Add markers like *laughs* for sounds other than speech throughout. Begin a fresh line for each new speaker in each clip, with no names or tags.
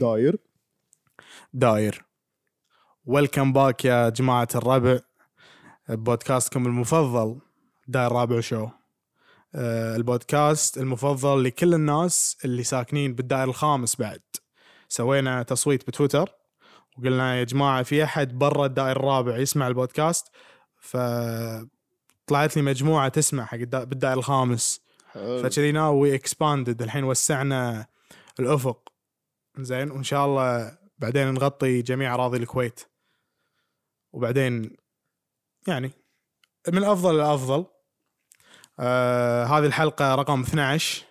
داير
داير ويلكم باك يا جماعة الربع بودكاستكم المفضل داير رابع شو آه، البودكاست المفضل لكل الناس اللي ساكنين بالدائر الخامس بعد سوينا تصويت بتويتر وقلنا يا جماعة في أحد برا الدائر الرابع يسمع البودكاست فطلعت لي مجموعة تسمع حق الدا- بالدائر الخامس
حلو
فكذي وي اكسباندد الحين وسعنا الافق زين وان شاء الله بعدين نغطي جميع اراضي الكويت وبعدين يعني من الافضل للافضل آه هذه الحلقه رقم 12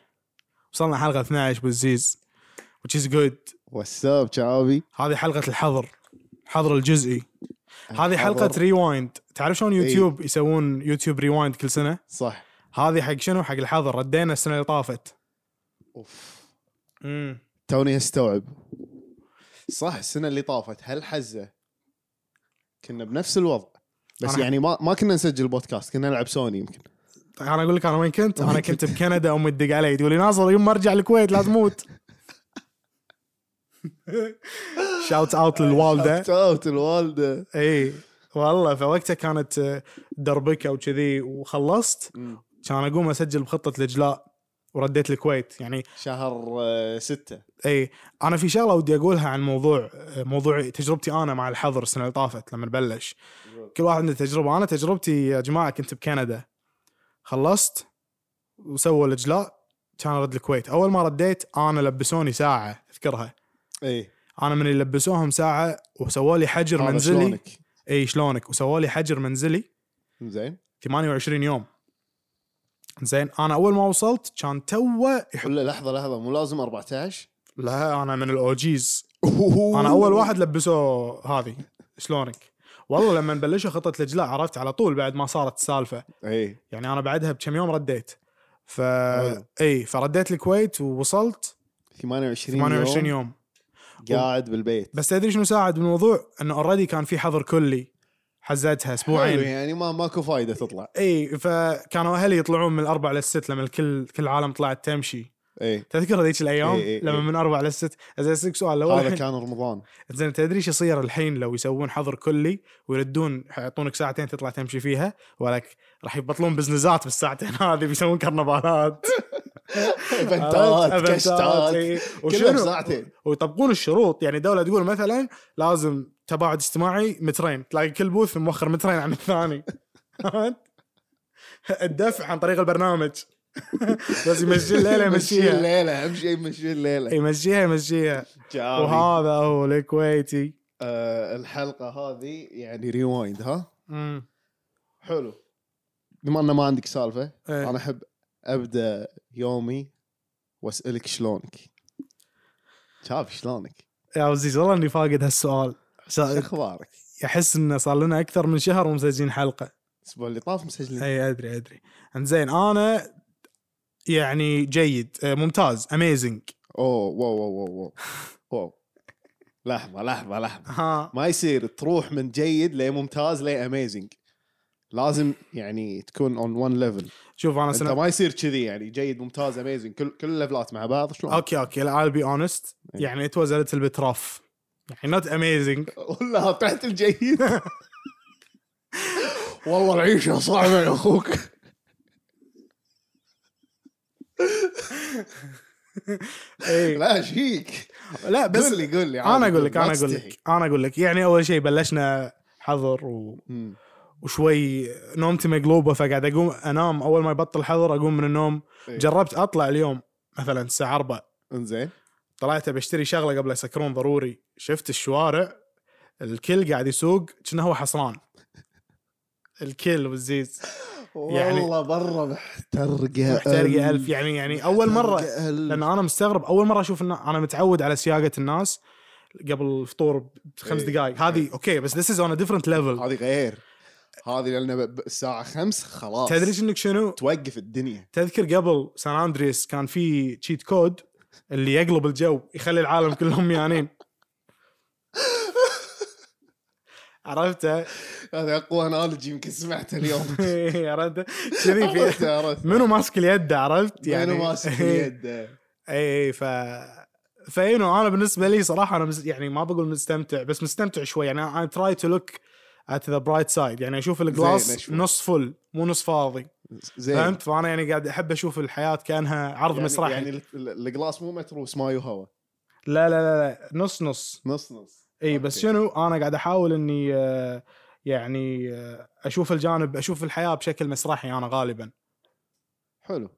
وصلنا حلقه 12 بالزيز which is good
واتساب شعابي
هذه حلقه الحظر الحظر الجزئي هذه حلقه
حضر.
ريوايند تعرف شلون يوتيوب يسوون يوتيوب ريوايند كل سنه
صح
هذه حق شنو حق الحظر ردينا السنه اللي طافت
اوف
امم
توني استوعب صح السنه اللي طافت هالحزه كنا بنفس الوضع بس
أنا- أه.
يعني ما ما كنا نسجل بودكاست كنا نلعب سوني يمكن
انا اقول طيب، لك انا وين كنت؟ انا
وين
كنت بكندا امي تدق علي تقول لي ناصر يوم ما ارجع الكويت لا تموت شاوت اوت للوالده
اوت الوالده
اي والله فوقتها كانت آه، دربكه وكذي وخلصت كان اقوم اسجل بخطه الاجلاء ورديت الكويت يعني
شهر آه، ستة
اي انا إيه، في شغله ودي اقولها عن موضوع آه، موضوع تجربتي انا مع الحظر السنه اللي طافت لما نبلش كل واحد عنده تجربه انا تجربتي يا جماعه كنت بكندا خلصت وسووا الاجلاء كان ارد الكويت اول ما رديت انا لبسوني ساعه اذكرها
اي
انا من اللي لبسوهم ساعه وسووا لي حجر
إيه، هذا
منزلي
شلونك؟
اي شلونك وسووا لي حجر منزلي
زين
28 يوم زين انا اول ما وصلت كان توه يح-
ولا لحظه لحظه مو لازم 14
لا انا من الاوجيز انا اول واحد لبسه هذه شلونك والله لما بلشوا خطه الاجلاء عرفت على طول بعد ما صارت السالفه
اي
يعني انا بعدها بكم يوم رديت ف
حلو.
اي فرديت الكويت ووصلت
28
28 يوم
قاعد بالبيت
بس تدري شنو ساعد بالموضوع انه اوريدي كان في حظر كلي حزتها
حلو،
اسبوعين
يعني ما ماكو فايده تطلع
اي فكانوا اهلي يطلعون من الاربع للست لما الكل كل العالم طلعت تمشي
اي
تذكر هذيك الايام
إي إي إي.
لما من اربع للست زين اسالك سؤال لو
هذا
الحين
كان رمضان
زين تدري شو يصير الحين لو يسوون حظر كلي ويردون يعطونك ساعتين تطلع تمشي فيها ولك راح يبطلون بزنزات بالساعتين *laughs* هذه بيسوون كرنفالات
ايفنتات كشتات
إي.
كلها
وشنو
بساعتين
ويطبقون الشروط يعني الدوله تقول مثلا لازم تباعد اجتماعي مترين تلاقي كل بوث موخر مترين عن الثاني الدفع عن طريق البرنامج *laughs* بس يمشي الليله
مشي إيه.
يمشيها
الليله اهم شيء مشي الليله
يمشيها يمشيها
جاوي.
وهذا هو الكويتي
آه، الحلقه هذه يعني ريوايند ها
أمم.
حلو بما انه ما عندك سالفه
إيه.
انا احب ابدا يومي واسالك شلونك شاف شلونك
يا عزيز والله اني فاقد هالسؤال
شو
صار-
اخبارك
احس انه صار لنا اكثر من شهر ومسجلين حلقه
الاسبوع اللي طاف مسجلين
اي ادري ادري انزين انا يعني جيد آه، ممتاز اميزنج
اوه واو واو واو واو واو لحظه لحظه لحظه
ها
ما يصير تروح من جيد لممتاز لاميزنج لازم يعني تكون اون وان ليفل
شوف انا
انت
سنة
ما يصير كذي يعني جيد ممتاز اميزنج كل كل الليفلات مع بعض شلون
اوكي اوكي لا I'll بي اونست
إيه.
يعني ات واز ليتل بت رف يعني نوت اميزنج
والله طلعت الجيد *laughs* والله العيشه صعبه يا اخوك
اي
لا شيك
لا بس
قول لي قول لي
انا اقول لك انا اقول لك انا اقول لك يعني اول شيء بلشنا حظر و... وشوي نومتي مقلوبه فقاعد اقوم انام اول ما يبطل حظر اقوم من النوم
إيه.
جربت اطلع اليوم مثلا الساعه 4
انزين
طلعت بشتري شغله قبل يسكرون ضروري شفت الشوارع الكل قاعد يسوق كأنه هو حصران الكل والزيز يعني-
والله برا محترقه
محترقه الف يعني يعني اول مره
محترقة ألف.
لان انا مستغرب اول مره اشوف إن انا متعود على سياقه الناس قبل الفطور بخمس
إيه. آه.
دقائق هذه اوكي بس ذس از اون ديفرنت ليفل
هذه غير هذه لان ب- ب- الساعه خمس خلاص
تدري انك شنو
توقف الدنيا
تذكر قبل سان اندريس كان في تشيت كود اللي يقلب الجو يخلي العالم كلهم يانين عرفته
هذا اقوى انالوجي يمكن سمعته
*laughs*
اليوم
إيه، عرفت كذي
عرفت *laughs*
في
عرفت
منو ماسك اليد عرفت *laughs*
يعني
يعني
ماسك اليد
اي اي ف فينو انا بالنسبه لي صراحه انا مز- يعني ما بقول مستمتع بس مستمتع شوي يعني انا تراي تو لوك ات ذا برايت سايد يعني اشوف
زين
الجلاس
شوي.
نص فل مو نص فاضي
زين
فهمت فانا يعني قاعد احب اشوف الحياه كانها عرض
يعني
مسرحي
يعني ال- ال- الجلاس مو متروس ماي وهواء
لا لا لا لا نص نص
نص نص
اي بس
أوكي.
شنو انا قاعد احاول اني آه، يعني آه، اشوف الجانب اشوف الحياه بشكل مسرحي انا غالبا
حلو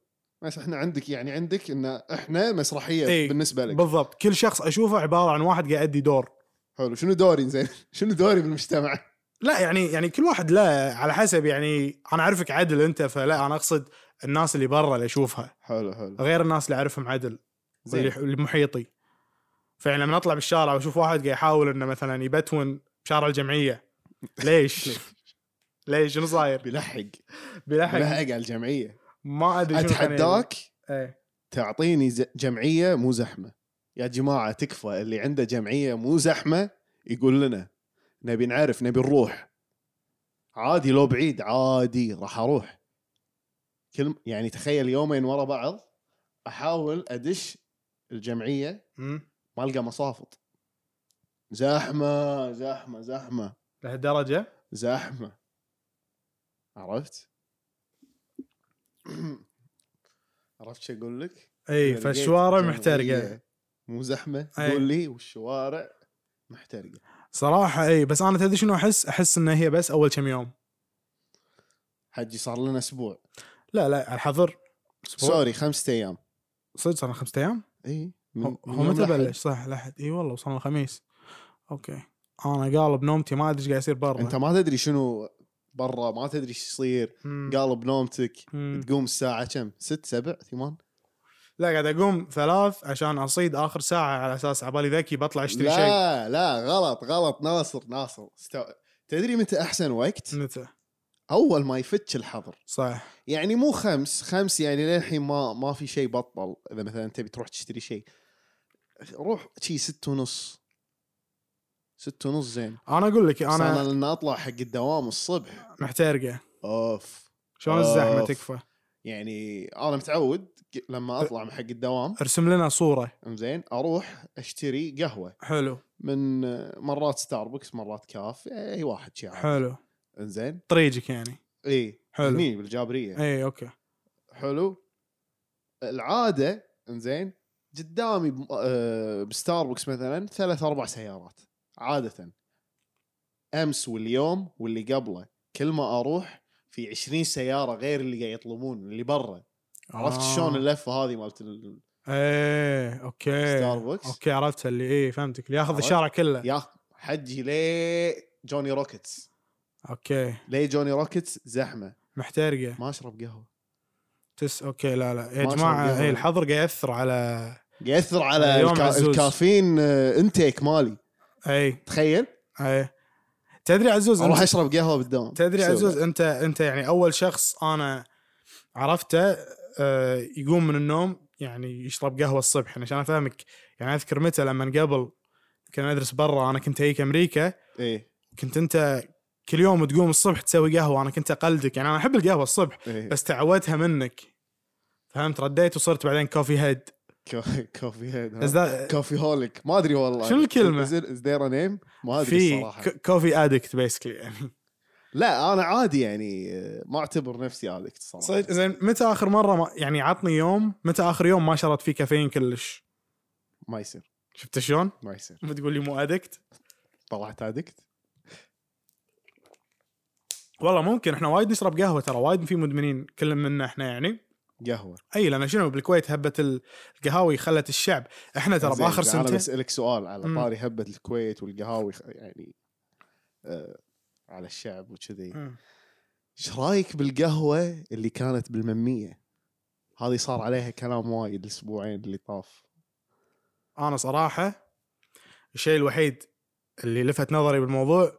بس احنا عندك يعني عندك ان احنا مسرحيه
إيه.
بالنسبه لك
بالضبط كل شخص اشوفه عباره عن واحد قاعد يؤدي دور
حلو شنو دوري زين *laughs* شنو دوري بالمجتمع
لا يعني يعني كل واحد لا على حسب يعني انا اعرفك عدل انت فلا انا اقصد الناس اللي برا اللي اشوفها
حلو حلو
غير الناس اللي اعرفهم عدل
زين
اللي اللي محيطي فيعني لما اطلع بالشارع واشوف واحد قاعد يحاول انه مثلا يبتون
*laughs*
بشارع الجمعيه ليش؟ ليش شنو صاير؟
بلحق بلحق
بلحق
على الجمعيه
ما ادري شنو كان يبي.
اتحداك
إيه.
تعطيني ز- جمعيه مو زحمه يا جماعه تكفى اللي عنده جمعيه مو زحمه يقول لنا نبي نعرف نبي نروح عادي لو بعيد عادي راح اروح كل يعني تخيل يومين ورا بعض احاول ادش الجمعيه
أمم.
ما القى مصافط زحمه زحمه زحمه
لهالدرجه؟
زحمه عرفت *clears throat* عرفت شو اقول لك
اي
لقيت
إيه، فالشوارع
جمعية
محترقه
مو زحمه
أي.
قول لي والشوارع محترقه
صراحه اي إيه، بس انا تدري شنو احس؟ احس ان هي بس اول كم يوم
حجي صار لنا اسبوع
لا لا على الحظر
سوري خمسة ايام
صدق صار لنا خمسة ايام؟
اي من-
هو
من
هو
يوم
متى
الأحد.
بلش صح الاحد اي والله وصلنا الخميس اوكي انا قالب نومتي ما ادري ايش قاعد يصير برا
انت ما تدري شنو برا ما تدري ايش يصير
مم.
قالب نومتك
مم.
تقوم الساعه كم ست سبع ثمان
لا قاعد اقوم ثلاث عشان اصيد اخر ساعه على اساس عبالي ذكي بطلع اشتري شيء
لا لا غلط غلط ناصر ناصر استو... تدري متى احسن وقت
متى
اول ما يفتش الحظر
صح
يعني مو خمس خمس يعني للحين ما ما في شيء بطل اذا مثلا تبي تروح تشتري شيء روح شي ست ونص ست ونص زين
انا اقول لك
انا انا
انا
لان اطلع حق الدوام الصبح
محترقه
اوف
شلون الزحمه
أوف.
تكفى
يعني انا متعود ك- لما
أه.
اطلع من حق الدوام
ارسم لنا صوره
زين اروح اشتري قهوه
حلو
من مرات ستاربكس مرات كاف اي واحد شي عارف.
حلو
زين
طريقك يعني إيه،
اي
حلو.
هني بالجابريه
اي اوكي
حلو العاده انزين قدامي ب- آه، بستاربكس مثلا ثلاث اربع سيارات عاده امس واليوم واللي قبله كل ما اروح في 20 سياره غير اللي قاعد يطلبون اللي برا عرفت
آه.
شلون اللفه هذه مالت ال-
ايه اوكي
ستاربكس.
اوكي عرفت اللي ايه فهمتك اللي ياخذ
عرفت؟
الشارع كله
يا أخ- حجي ليه جوني روكيتس
اوكي
ليه جوني روكيتس زحمه
محترقه
ما اشرب قهوه
تس اوكي لا لا يا
ما شاء
جماعه
الله.
اي الحظر قاعد ياثر على
ياثر على
يوم
الكا...
عزوز.
الكافيين آه، انتيك مالي
اي
تخيل
اي إيه، تدري عزوز
اروح
أنت
اشرب قهوه بالدوام
تدري
شو أسوي؟
عزوز انت انت يعني اول شخص انا عرفته آه، يقوم من النوم يعني يشرب قهوه الصبح يعني عشان افهمك يعني اذكر متى لما قبل كنا ندرس برا انا كنت هيك امريكا
ايه
كنت انت كل يوم تقوم الصبح تسوي قهوه انا كنت اقلدك يعني انا احب القهوه الصبح
ايه
بس تعودتها منك فهمت رديت وصرت بعدين كوفي هيد
كو- *laughs* كوفي هيد
Is
ها؟
that-
كوفي هوليك ما ادري والله
شنو الكلمة؟
از ذير نيم ما ادري
في
الصراحه
ك- كوفي ادكت بيسكلي يعني
لا انا عادي يعني آه، ما اعتبر نفسي ادكت صراحه
صدق زين متى اخر مره ما يعني عطني يوم متى اخر يوم ما شربت فيه كافيين كلش
ما يصير
شفت شلون؟ *laughs*
ما يصير
بتقول لي مو ادكت
طلعت ادكت
والله ممكن احنا وايد نشرب قهوه ترى وايد في مدمنين كل منا احنا يعني
قهوه
اي لان شنو بالكويت هبه ال- القهاوي خلت الشعب احنا ترى
زين،
باخر
إذا انا
سنتين
بسالك سؤال على
مم.
طاري هبه الكويت والقهاوي خ- يعني آه على الشعب وكذي
مم.
ايش رايك بالقهوه اللي كانت بالمميه؟ هذه صار عليها كلام وايد الاسبوعين اللي طاف
انا صراحه الشيء الوحيد اللي لفت نظري بالموضوع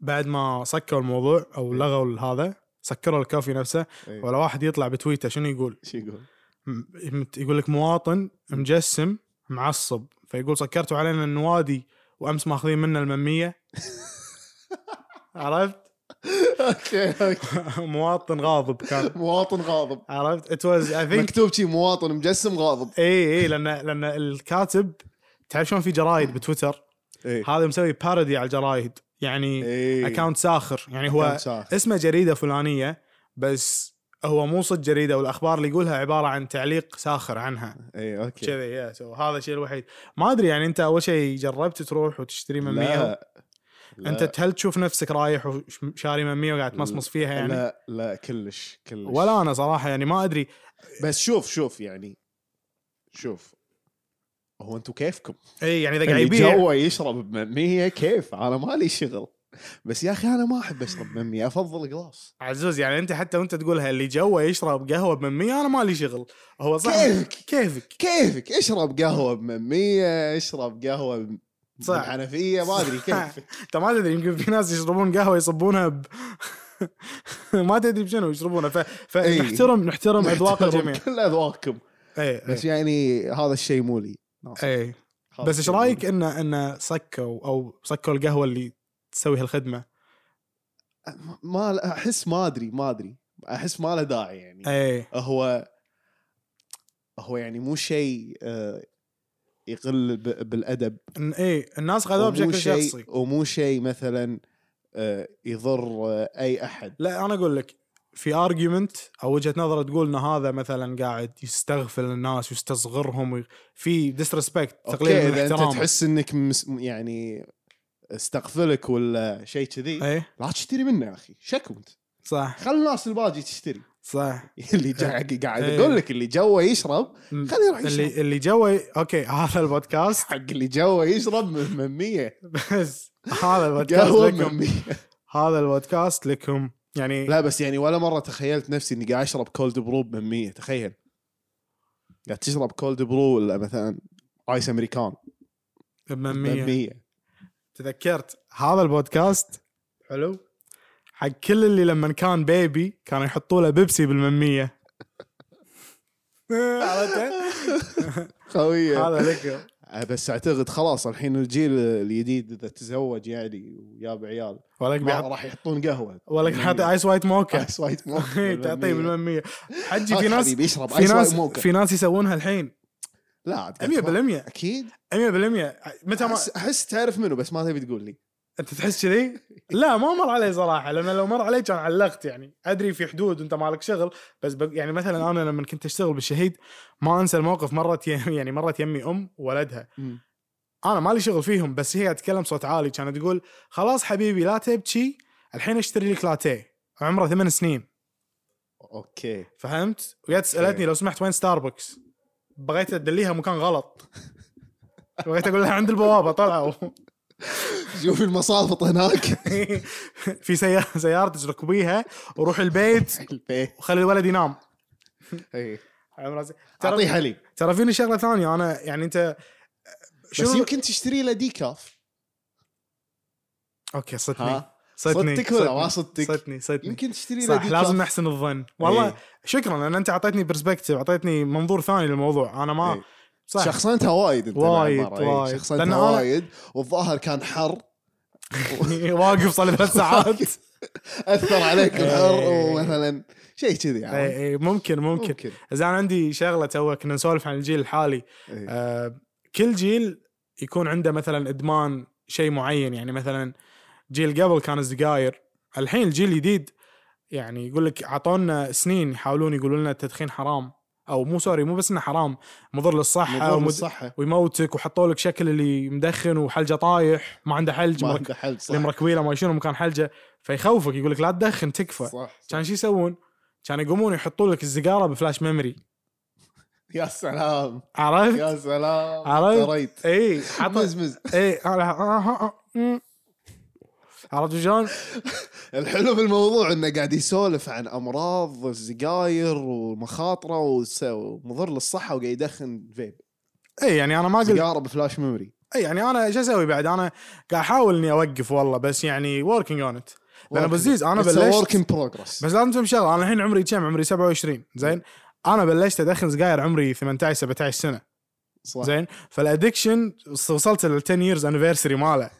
بعد ما سكروا الموضوع او لغوا هذا سكروا الكافي نفسه
إيه.
ولا واحد يطلع بتويته شنو يقول
شو يقول؟ *laughs*
م- مت- يقول لك مواطن مجسم معصب فيقول سكرتوا علينا النوادي وامس ماخذين منا المميه عرفت *laughs*
اوكي اوكي
مواطن غاضب كان
مواطن غاضب
عرفت ات واز اي ثينك إيه،
مكتوب شي مواطن مجسم غاضب
اي اي لان لان الكاتب تعرف شلون في جرايد بتويتر
اي
هذا مسوي بارودي على الجرايد
إيه.
يعني اكونت ساخر يعني هو اسمه جريده فلانيه بس هو مو صد جريده والاخبار اللي يقولها عباره عن تعليق ساخر عنها
اي اوكي
كذي يا سو هذا الشيء الوحيد ما ادري يعني انت اول شيء جربت تروح وتشتري من 100
لا لا.
انت هل تشوف نفسك رايح وشاري من 100 وقاعد تمصمص فيها يعني
لا لا كلش كلش
ولا انا صراحه يعني ما ادري
بس شوف شوف يعني شوف هو انتم كيفكم
اي يعني اذا قاعد
اللي
يبيع
جوا يشرب بمية كيف انا مالي شغل بس يا اخي انا ما احب اشرب بمية افضل قلاص
عزوز يعني انت حتى وانت تقولها اللي جوا يشرب قهوه ب 100 انا مالي شغل هو صح
كيفك.
كيفك
كيفك اشرب قهوه بمية اشرب قهوه
صح.
صح حنفيه ما ادري كيف
*laughs* انت ما تدري يمكن في ناس يشربون قهوه يصبونها ب... *laughs* ما تدري بشنو يشربونها ف...
إي.
فنحترم نحترم
*laughs*
اذواق الجميع إيه،
كل اذواقكم
اي
بس يعني هذا الشيء مو لي
اي
خلاص.
إيه. بس ايش رايك ان ان سكوا او سكوا القهوه اللي تسوي هالخدمه
ما احس ما ادري ما ادري احس ما له داعي يعني
اي
هو هو يعني مو شيء آه، يقل ب- بالادب
إن اي الناس خذوها
ومو
بشكل
شيء-
شخصي
ومو شيء مثلا آه، يضر آه، اي احد
لا انا اقول لك في ارجيومنت او وجهه نظر تقول ان هذا مثلا قاعد يستغفل الناس ويستصغرهم وي... في ديسريسبكت تقليل
أوكي،
من
اذا انت
الاحترام
تحس انك مس يعني استغفلك ولا شيء كذي
اي
لا تشتري منه يا اخي شكو انت
إيه؟ صح
خلي الناس الباقي تشتري *laughs*
صح
اللي جا- قاعد
إيه.
اقول لك اللي جوا يشرب
م-
خليه يروح يشرب
اللي اللي جوا اوكي
*laughs*
هذا البودكاست
حق اللي جوا يشرب من من 100
بس هذا البودكاست
قهوه من
لكم
100
هذا البودكاست لكم
*laughs*
يعني
لا بس يعني ولا مره تخيلت نفسي اني قاعد اشرب كولد برو من 100 تخيل قاعد تشرب كولد برو ولا مثلا ايس امريكان
بمية.
من 100
تذكرت هذا البودكاست حلو حق كل اللي لما كان بيبي كانوا يحطوا له بيبسي بالممية عرفت؟
قوية
هذا لكم
آه، بس اعتقد خلاص الحين الجيل الجديد اذا تزوج يعني وياب عيال
ولك
ما
بيحط
راح يحطون قهوه
ولك بيحط ايس وايت
*laughs*
موكا
ايس وايت موكا
*laughs* إيه، تعطيه بالممية حجي في
هاك
ناس
حبيبي اشرب
في
ايس وايت
ناس
موكا
في ناس يسوونها الحين
100%
100% 100%
100% اكيد
متى ما
أحس- احس تعرف منه بس ما تبي تقول لي
انت تحس كذي؟ لا ما مر علي صراحه لان لو مر علي كان علقت يعني ادري في حدود وانت مالك شغل بس بق- يعني مثلا انا لما كنت اشتغل بالشهيد ما انسى الموقف مرت يم- *laughs* يعني مرت يمي ام ولدها انا مالي شغل فيهم بس هي تتكلم صوت عالي كانت تقول خلاص حبيبي لا تبكي الحين اشتري لك لاتيه عمره ثمان سنين
اوكي
فهمت؟ وجت سالتني لو سمحت وين ستاربكس؟ بغيت ادليها مكان غلط بغيت اقول لها عند البوابه طلعوا *laughs*
شوف المصافط هناك
في سيارة سيارتك ركبيها وروح البيت
البي.
وخلي الولد ينام
*laughs* إيه.
عمره زي-
اعطيه
ترى
حليب
ترى فيني شغله ثانيه انا يعني انت
بس
شنو
يمكن تشتري له ديكاف
اوكي صدني
ها
صدني
صدتك إيه. ولا ما
صدني
صدتك
صدني صدني
يمكن تشتري له
صح
ديكاف
لازم نحسن الظن والله
إيه.
شكرا لان انت اعطيتني برسبكتيف اعطيتني منظور ثاني للموضوع انا ما
إيه.
صح *laughs*
شخصنتها وايد انت
وايد،
بالعمارة، إيه،
وايد. لأن
شخصنتها
أنا-
وايد والظاهر كان حر
إيه، واقف صار لي ثلاث
*laughs*
ساعات
اثر عليك الحر
إيه.
ومثلا شيء كذي
إيه،
يعني
إيه، ممكن ممكن
ممكن
اذا انا عندي شغله تو كنا نسولف عن الجيل الحالي
إيه.
آه، كل جيل يكون عنده مثلا ادمان شيء معين يعني مثلا جيل قبل كان السجاير الحين الجيل الجديد يعني يقول لك اعطونا سنين يحاولون يقولون لنا التدخين حرام او مو سوري مو بس انه حرام مضر للصحه
مضر
ومد...
بالصحه
ويموتك وحطوا لك شكل اللي مدخن وحلجه طايح ما عنده حلج
ما
مرك-
عنده حل صح
اللي مركبينه ما يشيلونه مكان حلجه فيخوفك يقول لك لا تدخن تكفى
صح
كان شو يسوون؟ كان يقومون يحطوا لك السيجاره بفلاش ميموري
يا سلام
عرفت؟
يا سلام
عرفت؟
دريت
اي حط
مزمز
ايه على- آه، آه، آه. عرفت شلون؟
الحلو بالموضوع انه قاعد يسولف عن امراض السجاير ومخاطره وس- ومضر للصحه وقاعد يدخن فيب
اي يعني انا ما قلت
سيجاره بفلاش ميموري
اي يعني انا شو اسوي بعد انا قاعد احاول اني اوقف والله بس يعني وركينج اون ات لان ابو عزيز انا
ورك
بلشت
ان بروجرس
بس لازم تفهم شغله انا الحين عمري كم عمري 27 زين انا بلشت ادخن سجاير عمري 18 17 سنه
صح
زين فالادكشن وصلت لل 10 years anniversary ماله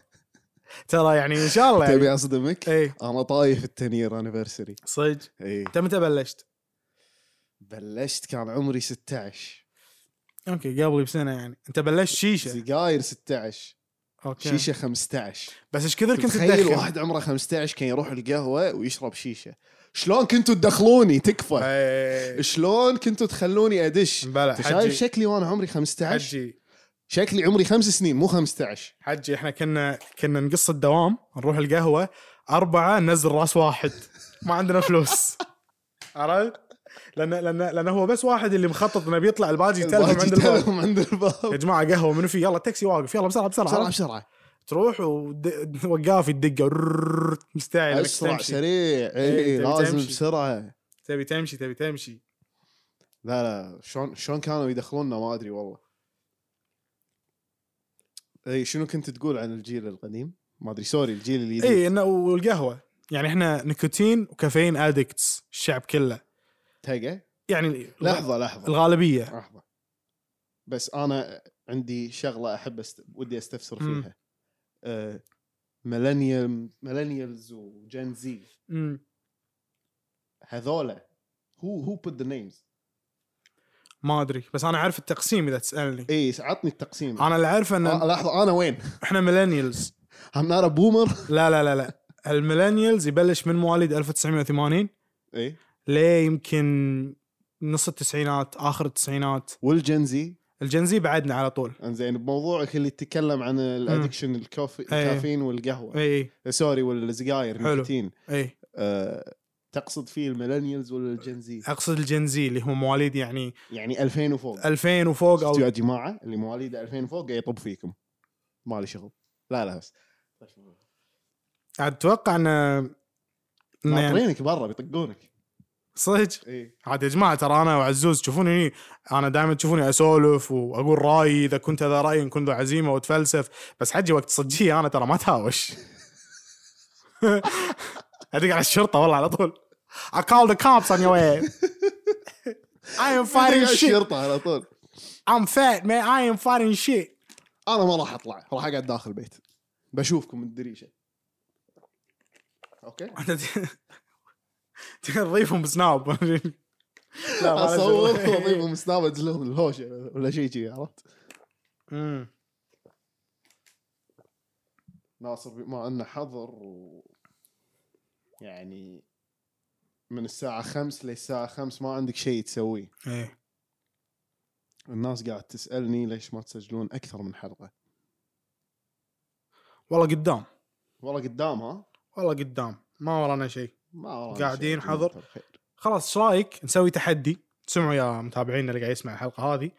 ترى يعني ان شاء الله يعني
تبي اصدمك
اي
انا طايف التنير انيفرساري
صدق
اي
انت متى بلشت؟
بلشت كان عمري 16
اوكي قبلي بسنه يعني انت بلشت شيشه
سجاير 16
اوكي
شيشه 15
بس ايش كثر كنت
تخيل
تدخن؟
واحد عمره 15 كان يروح القهوه ويشرب شيشه شلون كنتوا تدخلوني تكفى
إيه.
شلون كنتوا تخلوني ادش
بلى
أنت شايف
حجي
شكلي وانا عمري 15
حجي
شكلي عمري خمس سنين مو 15
حجي احنا كنا كنا نقص الدوام نروح القهوه اربعه ننزل راس واحد ما عندنا فلوس *laughs* عرفت؟ لان لان لان هو بس واحد اللي مخطط انه بيطلع الباجي يتلهم عند الباب
تلهم عند
يا *laughs*
الباب
جماعه قهوه منو في يلا تاكسي واقف يلا بسرعه بسرعه,
بسرعه
بسرعة.
بسرعه
تروح ود- وقاف الدقه وررررر، مستعجل إنك
اسرع
تمشي.
سريع اي
إيه، تبي
لازم
تمشي.
بسرعه
تبي تمشي تبي تمشي
لا لا شلون شلون كانوا يدخلوننا ما ادري والله اي شنو كنت تقول عن الجيل القديم؟ ما ادري سوري الجيل الجديد
اي انه والقهوه إيه، يعني احنا نيكوتين وكافيين ادكتس الشعب كله
تقى
يعني
لحظه لحظه
الغالبيه
لحظه بس انا عندي شغله احب أست... ودي استفسر
مم.
فيها آه ميلينيال ميلينيالز وجن زي
مم.
هذولا هو هو بوت ذا نيمز
ما ادري بس انا عارف التقسيم اذا تسالني
اي إيه، عطني التقسيم
انا اللي عارفه
آه،
ان
لحظه انا وين؟
احنا ميلينيالز
I'm not a boomer
لا لا لا لا الميلينيالز يبلش من مواليد 1980
اي
ليه يمكن نص التسعينات اخر التسعينات
والجنزي
الجنزي بعدنا على طول
انزين بموضوعك اللي تتكلم عن الادكشن الكوفي
إيه.
الكافيين والقهوه
اي اي
سوري والسجاير
حلو.
نيكوتين
اي
أه تقصد فيه الميلينيالز ولا الجنزي
اقصد الجنزي اللي هم مواليد يعني
يعني 2000 وفوق
2000 وفوق
شفتوا يا
او
جماعه اللي مواليد 2000 وفوق قاعد يطب فيكم مالي شغل لا لا بس
اتوقع ان إن يعني
ناطرينك برا بيطقونك إيه.
صدق
اي
عاد يا جماعه ترى انا وعزوز تشوفوني هني انا دائما تشوفوني اسولف واقول رايي اذا كنت ذا راي إن كنت ذا عزيمه واتفلسف بس حجي وقت صجيه انا ترى ما تهاوش *laughs* ادق على الشرطه والله على طول I call the cops on your head I am fighting shit
الشرطه على طول
I'm fat man I am fighting shit *laughs*
انا ما راح اطلع راح اقعد داخل البيت بشوفكم من الدريشه اوكي
تضيفهم بسناب *laughs* لا
*laughs*
ما لازم.
اصور
*laughs*
واضيفهم سناب أدز لهم الهوشه ولا شيء كذي عرفت
أمم.
ناصر بما انه حضر و يعني من الساعة خمس للساعة خمس ما عندك شيء تسويه
ايه
الناس قاعد تسألني ليش ما تسجلون أكثر من حلقة
والله قدام
والله قدام ها
والله قدام ما ورانا شيء
ما ورانا شيء.
قاعدين
جزاكم
حضر.
الله خير.
خلاص ايش رايك نسوي تحدي سمعوا يا متابعينا اللي قاعد يسمع الحلقه هذه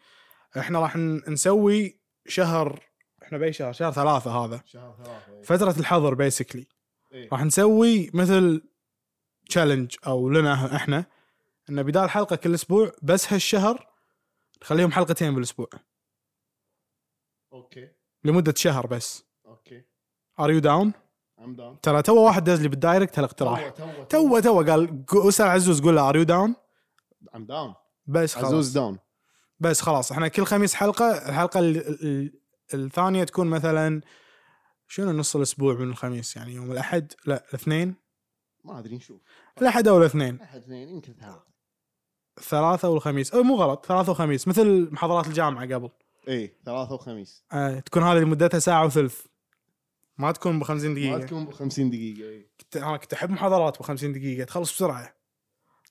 احنا راح ن- نسوي شهر احنا باي شهر شهر ثلاثة هذا
شهر ثلاثة
فترة الحظر بيسكلي
إيه.
راح نسوي مثل تشالنج او لنا احنا ان بدال حلقة كل اسبوع بس هالشهر نخليهم حلقتين بالاسبوع
اوكي
لمدة شهر بس
اوكي
ار يو داون
ام داون
ترى تو واحد دز لي بالدايركت هالاقتراح
تو
تو تو قال ق- اسال عزوز قول له ار يو داون
ام داون
بس خلاص
عزوز داون
بس خلاص احنا كل خميس حلقه الحلقه ال- ال- الثانيه تكون مثلا شنو نص الاسبوع من الخميس يعني يوم الاحد لا الاثنين
ما ادري نشوف
الاحد او الاثنين
احد اثنين يمكن ثلاثة
ثلاثة والخميس او مو غلط ثلاثة وخميس مثل محاضرات الجامعة قبل
اي إيه، ثلاثة وخميس
آه تكون هذه مدتها ساعة وثلث ما تكون ب 50
ما
دقيقة
تكون ب 50 دقيقة إيه. اي
كنت انا كنت احب محاضرات ب 50 دقيقة تخلص بسرعة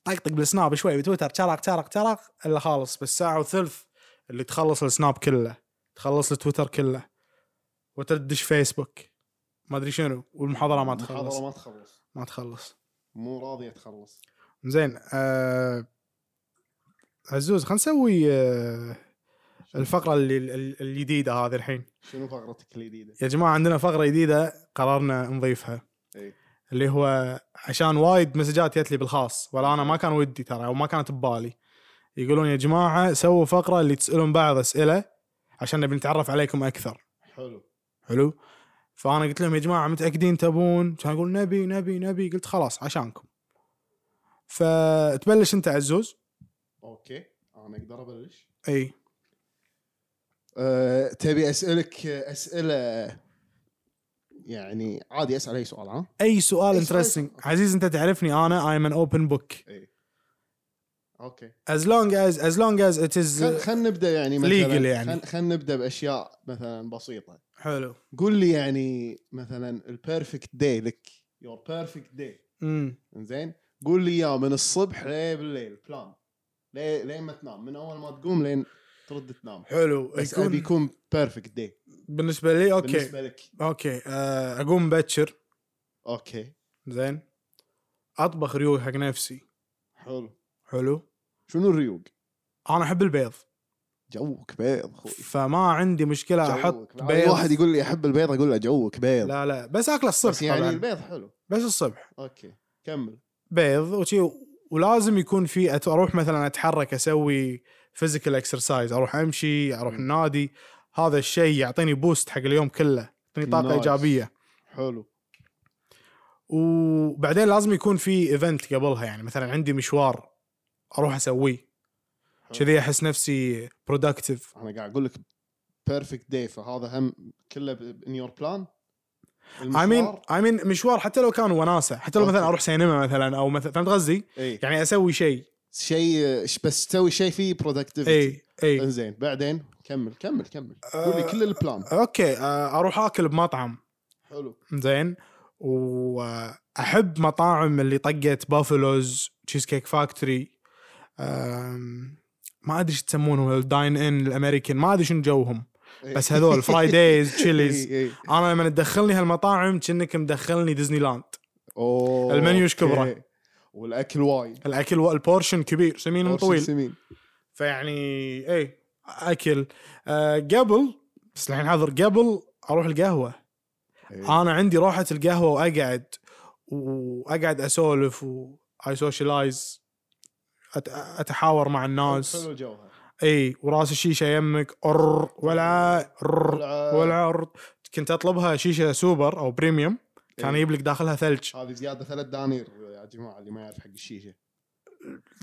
طقطق بالسناب شوي بتويتر تشرق تشرق تشرق الا خالص بس ساعة وثلث اللي تخلص السناب كله تخلص التويتر كله وتدش فيسبوك ما ادري شنو والمحاضرة ما تخلص
المحاضرة ما تخلص
ما تخلص
مو راضية تخلص
زين آه عزوز خلينا نسوي آه الفقرة اللي- ال- الجديدة هذه الحين
شنو فقرتك الجديدة؟
يا جماعة عندنا فقرة جديدة قررنا نضيفها
اي
اللي هو عشان وايد مسجات جت لي بالخاص ولا انا ما كان ودي ترى او ما كانت ببالي يقولون يا جماعه سووا فقره اللي تسالون بعض اسئله عشان نبي نتعرف عليكم اكثر
حلو
حلو فانا قلت لهم يا جماعه متاكدين تبون كان يقول نبي نبي نبي قلت خلاص عشانكم فتبلش انت عزوز
اوكي انا اقدر ابلش
اي
أه، تبي اسالك اسئله يعني عادي اسال اي سؤال ها؟
اي سؤال
أي سؤال.
انترستنج عزيز انت تعرفني انا ايم ان اوبن بوك
اي اوكي
as long as as long as it is
خلينا نبدا يعني
legal
مثلا
يعني.
يعني. خلينا نبدا باشياء مثلا بسيطه
حلو
قول لي يعني مثلا البيرفكت داي لك يور بيرفكت داي
امم
زين قول لي اياه من الصبح ليه بالليل بلان ليه لين ما تنام من اول ما تقوم لين ترد تنام
حلو
بس
يكون
ابي يكون بيرفكت داي
بالنسبه لي اوكي
بالنسبه لك
اوكي آه، اقوم مبكر
اوكي
زين اطبخ ريوق حق نفسي
حلو
حلو
شنو الريوق؟
انا احب البيض
جوك بيض اخوي
فما عندي مشكله احط
جوك. أي
بيض
واحد يقول لي احب البيض اقول له جوك بيض
لا لا بس اكله
بس
الصبح
يعني
طبعا
البيض حلو
بس الصبح
اوكي كمل
بيض وشي ولازم يكون في أت- اروح مثلا اتحرك اسوي فيزيكال اكسرسايز اروح امشي اروح
مم.
النادي هذا الشيء يعطيني بوست حق اليوم كله يعطيني طاقه
Nice.
ايجابيه
حلو
وبعدين لازم يكون في ايفنت قبلها يعني مثلا عندي مشوار اروح اسويه
حلو.
كذي احس نفسي برودكتيف
انا قاعد اقول لك بيرفكت داي فهذا هم كله ان يور بلان
اي مين اي مين مشوار حتى لو كان وناسه حتى لو مثلا
أوكي.
اروح سينما مثلا او مثلا فهمت قصدي؟
اي
يعني اسوي شيء
شيء ش- بس تسوي شيء فيه برودكتيفيتي
اي اي
انزين بعدين كمل كمل كمل
آه.
قول لي كل البلان
اوكي آه، اروح اكل بمطعم
حلو
زين واحب مطاعم اللي طقت بافلوز تشيز كيك فاكتوري ما ادري شو يسمونهم الداين ان الامريكان ما ادري شنو جوهم
إي.
بس هذول فرايدايز
*laughs*
تشيليز
إي، إي.
انا لما تدخلني هالمطاعم كأنك مدخلني ديزني لاند
أوه،
المنيو إيش كبره؟
أوكي. والاكل وايد
الاكل والبورشن كبير سمين
أوه، شو
وطويل
سمين.
فيعني ايه اكل آه قبل بس الحين حاضر قبل اروح القهوه
إي.
انا عندي روحه القهوه واقعد واقعد اسولف واي سوشيلايز اتحاور مع الناس
حلو جوها
اي وراس الشيشه يمك ار ولا ر
والع-
ولا ر كنت اطلبها شيشه سوبر او بريميوم كان
إي.
يجيب لك داخلها ثلج
هذه زياده ثلاث دنانير يا جماعه اللي ما يعرف حق الشيشه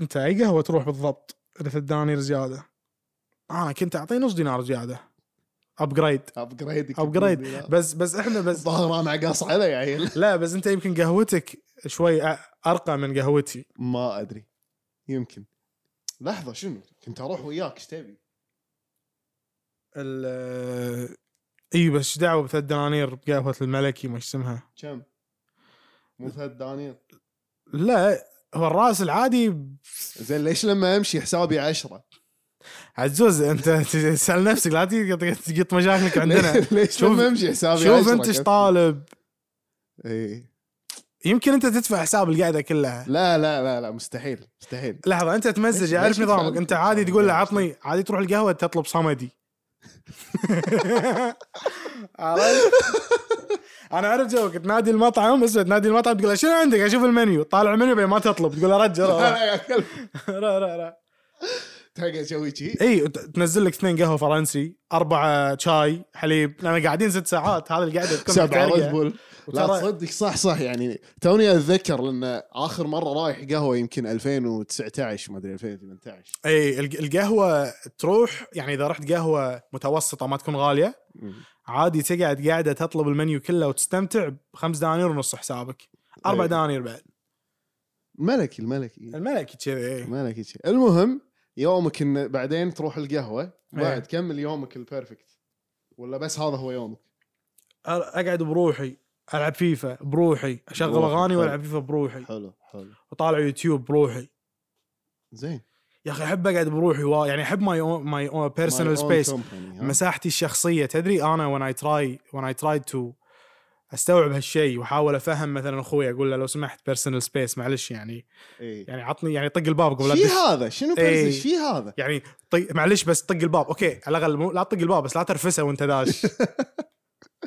انت اي قهوه تروح بالضبط اذا في الدنانير زياده انا كنت اعطيه نص دينار زياده ابجريد
ابجريد
Upgrade.
*laughs*
بس بس احنا بس
الظاهر انا قاص عليه يا عيل
لا بس انت يمكن قهوتك شوي أ- ارقى من قهوتي
ما ادري يمكن لحظه شنو كنت اروح وياك ايش تبي؟
ال- اي بس إيش دعوه بثلاث دنانير بقهوه الملكي ما إيش اسمها
كم؟ مو ثلاث دنانير
لا هو الراس العادي ب-
زين ليش لما امشي حسابي عشرة؟
عزوز انت *laughs* تسال نفسك لا تقط- تقط
*laughs*
مشاكلك عندنا
ليه- ليش
شوف-
لما امشي حسابي عشرة؟
شوف انت ايش
كيف؟
طالب
إيه.
يمكن انت تدفع حساب القعده كلها
لا لا لا لا مستحيل
*laughs*
مستحيل
لحظه انت تمزج
ليش-
اعرف
ليش
نظامك
تدفع-
انت عادي تقول له عطني عادي تروح القهوه تطلب صمدي *laughs* عرفت؟ انا اعرف جوك تنادي المطعم اسمه تنادي المطعم تقول له شنو عندك اشوف المنيو طالع المنيو بعدين ما تطلب تقول له رجع
لا *laughs*
روح
لا يا كلب
لا لا لا
تلقى اسوي شي
اي ت- تنزل لك اثنين قهوه فرنسي اربعه شاي حليب لان قاعدين ست ساعات هذه القعده تكون
سبعة
محترقة.
ريد بول لا
وترى-
تصدق صح صح يعني توني اتذكر لان اخر مره رايح قهوه يمكن 2019 ما ادري 2018
اي الق- القهوه تروح يعني اذا رحت قهوه متوسطه ما تكون غاليه عادي تقعد قاعده تطلب المنيو كله وتستمتع بخمس دنانير ونص حسابك اربع
إيه.
دنانير بعد
الملكي الملكي
الملكي كذي إيه.
مالك شيء المهم يومك إن بعدين تروح القهوه
إيه.
بعد كمل يومك البيرفكت ولا بس هذا هو يومك
اقعد بروحي العب فيفا بروحي اشغل
بروحك،
اغاني
حلو.
والعب فيفا بروحي
حلو حلو
وطالع يوتيوب بروحي
زين
يا اخي احب اقعد بروحي وا... يعني احب ماي ماي بيرسونال
My own
سبيس
company، ها؟
مساحتي الشخصيه تدري انا وين اي تراي وين اي تراي تو استوعب هالشيء واحاول افهم مثلا اخوي اقول له لو سمحت بيرسونال سبيس معلش يعني
إيه.
يعني عطني يعني طق الباب قبل
شي
أدش.
هذا شنو
إيه.
بس شي هذا
يعني طي... معلش بس طق الباب اوكي على الاقل مو... لا تطق الباب بس لا ترفسه وانت
*laughs*
داش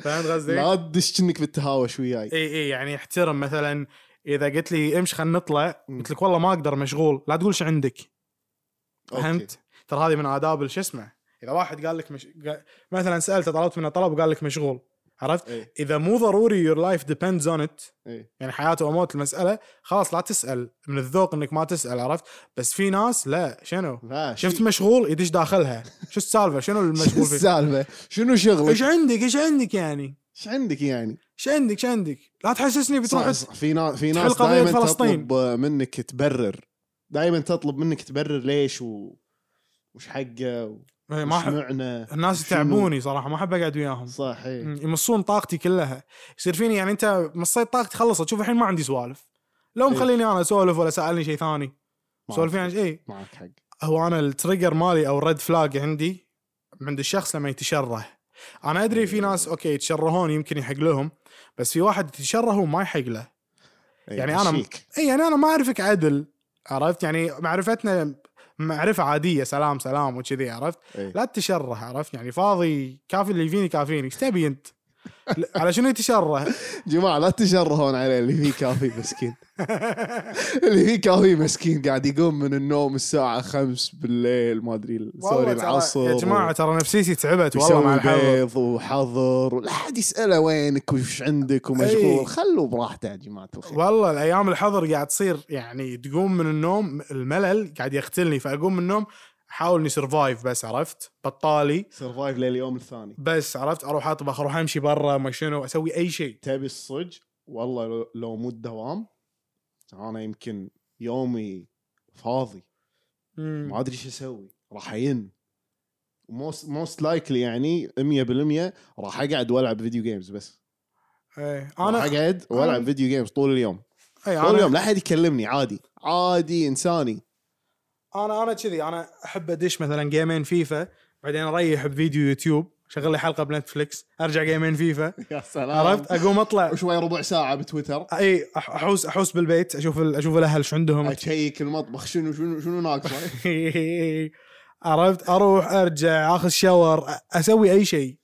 فهمت قصدي؟
لا تدش كأنك بالتهاوش وياي
اي اي يعني احترم مثلا اذا قلت لي امش خلينا نطلع
مم.
قلت لك والله ما اقدر مشغول لا تقول شو عندك
أوكي.
فهمت؟ ترى هذه من اداب شو اسمه اذا واحد قال لك مش... قا- مثلا سالته طلبت منه طلب وقال لك مشغول عرفت؟
إيه.
اذا مو ضروري يور لايف ديبندز اون ات
إيه.
يعني حياته وموت المساله خلاص لا تسال من الذوق انك ما تسال عرفت؟ بس في ناس لا شنو؟
لا شي-
شفت مشغول يدش داخلها شو السالفه شنو
شو
المشغول
*laughs*
فيه
السالفه شنو شغلك
ايش عندك ايش عندك يعني
ايش عندك يعني
ايش عندك ايش عندك لا تحسسني بتروح
صح- صح. في ناس في
تحل
ناس
قضية
دائما
فلسطين.
تطلب منك تبرر دائما تطلب منك تبرر ليش و... وش حقه و...
إيه، ما
وش
أحب
معنى
الناس
شنو؟
يتعبوني صراحه ما احب اقعد وياهم
صح إيه.
مم، يمصون طاقتي كلها يصير فيني يعني انت مصيت طاقتي خلصت شوف الحين ما عندي سوالف لو
إيه.
مخليني انا اسولف ولا سالني شيء ثاني
معك
سولفين عن
حق.
شيء
معك حق
هو انا التريجر مالي او الريد فلاج عندي عند الشخص لما يتشره انا ادري
إيه.
في ناس اوكي يتشرهون يمكن يحق لهم بس في واحد يتشره وما يحق له
إيه،
يعني أنا-
هشيك.
اي يعني انا ما اعرفك عدل عرفت يعني معرفتنا معرفه عاديه سلام سلام وكذي عرفت
إيه.
لا تتشره عرفت يعني فاضي كافي اللي يفيني كافيني ايش تبي انت لا، على
*laughs*
شنو يتشره
جماعه لا تشرهون عليه اللي فيه كافي
*laughs*
مسكين اللي فيه كافي مسكين قاعد يقوم من النوم الساعه 5 بالليل ما ادري سوري
والله ترى-
العصر
يا جماعه ترى نفسيتي تعبت والله
والله
مع الحظ
بيض وحظر ولا حد يساله وينك وش عندك
إي.
ومشغول خلوه براحته يا جماعه الخير
إيه. والله الايام الحظر قاعد تصير يعني تقوم من النوم الملل قاعد يقتلني فاقوم من النوم احاول اني سرفايف بس عرفت بطالي
سرفايف لليوم الثاني
بس عرفت اروح اطبخ اروح امشي برا ما شنو اسوي اي شيء
تبي الصج والله لو- لو مو الدوام انا يمكن يومي فاضي
مم.
ما ادري شو اسوي راح ين موست موست لايكلي يعني 100% راح اقعد والعب فيديو جيمز بس
ايه
راح
انا
اقعد والعب
أنا- إيه،
فيديو جيمز طول اليوم
اي
طول
انا
اليوم لا احد يكلمني عادي عادي انساني
انا انا كذي انا احب ادش مثلا جيمين فيفا بعدين اريح بفيديو يوتيوب شغل لي حلقه بنتفلكس ارجع جيمين فيفا
*laughs* يا سلام
عرفت اقوم اطلع
وشوي ربع ساعه بتويتر
اي أح- احوس احوس بالبيت اشوف ال- اشوف الاهل ايش عندهم
اشيك المطبخ شنو شنو شنو
*laughs*
ناقصه
عرفت اروح ارجع اخذ شاور أ- اسوي اي شيء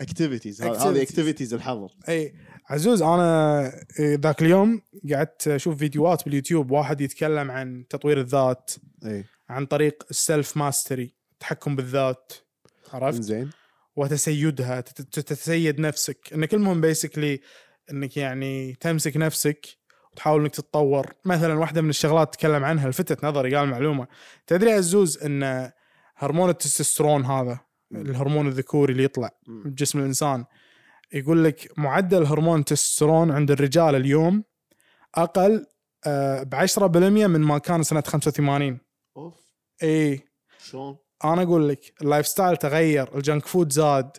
اكتيفيتيز
Activities.
هذه اكتيفيتيز الحظر
اي عزوز انا إيه، ذاك اليوم قعدت اشوف فيديوهات باليوتيوب واحد يتكلم عن تطوير الذات
اي
عن طريق السلف ماستري التحكم بالذات عرفت
زين
وتسيدها تت- تت- تتسيد نفسك انك المهم بيسكلي انك يعني تمسك نفسك وتحاول انك تتطور مثلا واحده من الشغلات تكلم عنها لفتت نظري قال معلومه تدري يا عزوز ان هرمون التستوستيرون هذا
مم.
الهرمون الذكوري اللي يطلع بجسم الانسان يقول لك معدل هرمون التستوستيرون عند الرجال اليوم اقل ب 10% من ما كان سنه 85
اوف
اي
شلون
انا اقول لك اللايف ستايل تغير الجنك فود زاد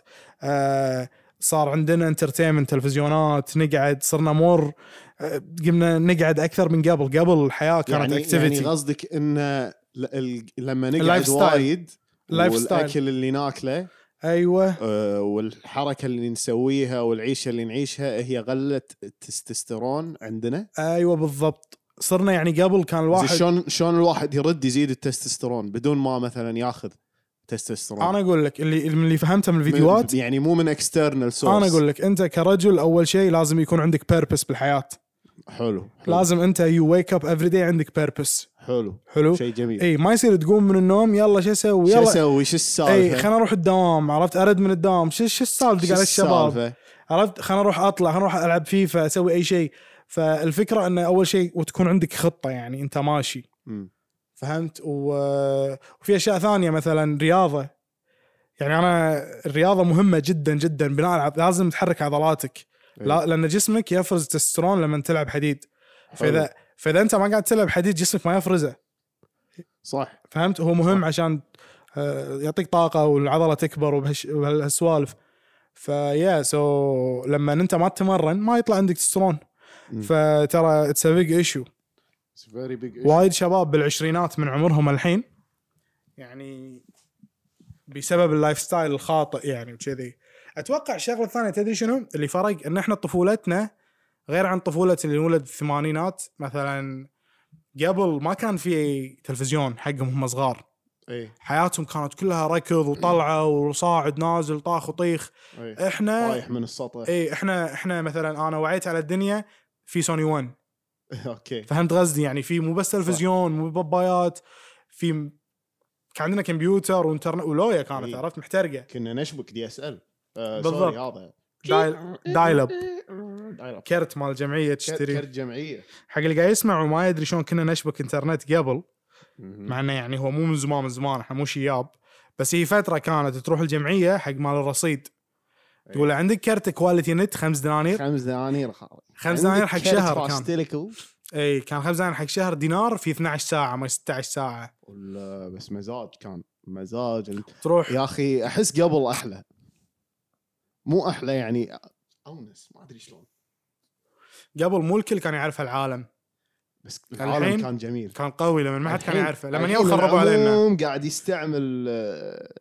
آه صار عندنا انترتينمنت تلفزيونات نقعد صرنا مور آه، قمنا نقعد اكثر من قبل قبل الحياه كانت
يعني
اكتيفيتي
يعني قصدك ان ل- ال- لما نقعد
اللايف ستايل.
وايد
اللايف ستايل.
والاكل اللي ناكله
ايوه
آه، والحركه اللي نسويها والعيشه اللي نعيشها هي غلت التستوستيرون عندنا
ايوه بالضبط صرنا يعني قبل كان
زين
الواحد
شلون شلون الواحد يرد يزيد التستوستيرون بدون ما مثلا ياخذ تستوستيرون
انا اقول لك اللي من اللي فهمته من
من-
الفيديوهات
يعني مو من اكسترنال سورس
انا اقول لك انت كرجل اول شيء لازم يكون عندك بيربس بالحياه
حلو حلو,
لازم انت يو ويك اب افري داي عندك بيربس
حلو.
حلو
شيء جميل
اي ما يصير تقوم من النوم يلا شو اسوي
شو
أيوه. يلا
اسوي شو
اي
السالفه
إيه، خلنا اروح الدوام عرفت ارد من الدوام شو شو السالفه
شو
قال الشباب
السالفة؟
عرفت خلنا اروح اطلع خلنا اروح العب فيفا اسوي اي شيء فالفكره انه اول شيء وتكون عندك خطه يعني انت ماشي
مم.
فهمت و... وفي اشياء ثانيه مثلا رياضه يعني انا الرياضه مهمه جدا جدا بناء على لازم تحرك عضلاتك
إيه.
لا لان جسمك يفرز تسترون لما تلعب حديد فاذا فاذا انت ما قاعد تلعب حديد جسمك ما يفرزه
صح
فهمت هو مهم
صح.
عشان آه، يعطيك طاقه والعضله تكبر وبهش- وبهالسوالف فيا سو لما انت ما تتمرن ما يطلع عندك تسترون
مم.
فترى اتس بيج ايشو
فيري بيج
وايد شباب بالعشرينات من عمرهم الحين يعني بسبب اللايف ستايل الخاطئ يعني وكذي اتوقع الشغله الثانيه تدري شنو اللي فرق ان احنا طفولتنا غير عن طفوله اللي ولد بالثمانينات مثلا قبل ما كان في تلفزيون حقهم هم صغار
اي
حياتهم كانت كلها ركض وطلعه وصاعد نازل طاخ وطيخ
اي
احنا
إيه. رايح من *laughs* السطح
اي احنا احنا مثلا انا وعيت على الدنيا في سوني 1
اوكي
فهمت قصدي يعني في مو بس تلفزيون مو بابايات في م- كان عندنا كمبيوتر وانترنت ولويا كانت
إي.
عرفت محترقه
كنا نشبك دي اس ال آه
بالضبط.
سوري هذا
دايل دايل اب
دايل اب
كرت مال الجمعيه
تشتري كرت
تشتري
جمعيه
حق اللي قاعد يسمع وما يدري شلون كنا نشبك انترنت قبل
مهم.
مع انه يعني هو مو من زمان من زمان احنا مو شياب بس هي فتره كانت تروح الجمعيه حق مال الرصيد
إي.
تقول له عندك كرت كواليتي نت خمس دنانير
خمس دنانير خالي
خمس دنانير حق شهر كان
فاستيلكو
اي كان خبزان حق شهر دينار في 12 ساعه ما 16 ساعه
ولا بس مزاج كان مزاج ال-
تروح
يا اخي احس قبل احلى مو احلى يعني اونس ما ادري شلون
قبل مو الكل كان يعرف العالم
بس
الحين
العالم كان جميل
كان قوي لما ما حد كان
الحين-
يعرفه لما
الحين
يوم خربوا علينا
العموم قاعد يستعمل آه،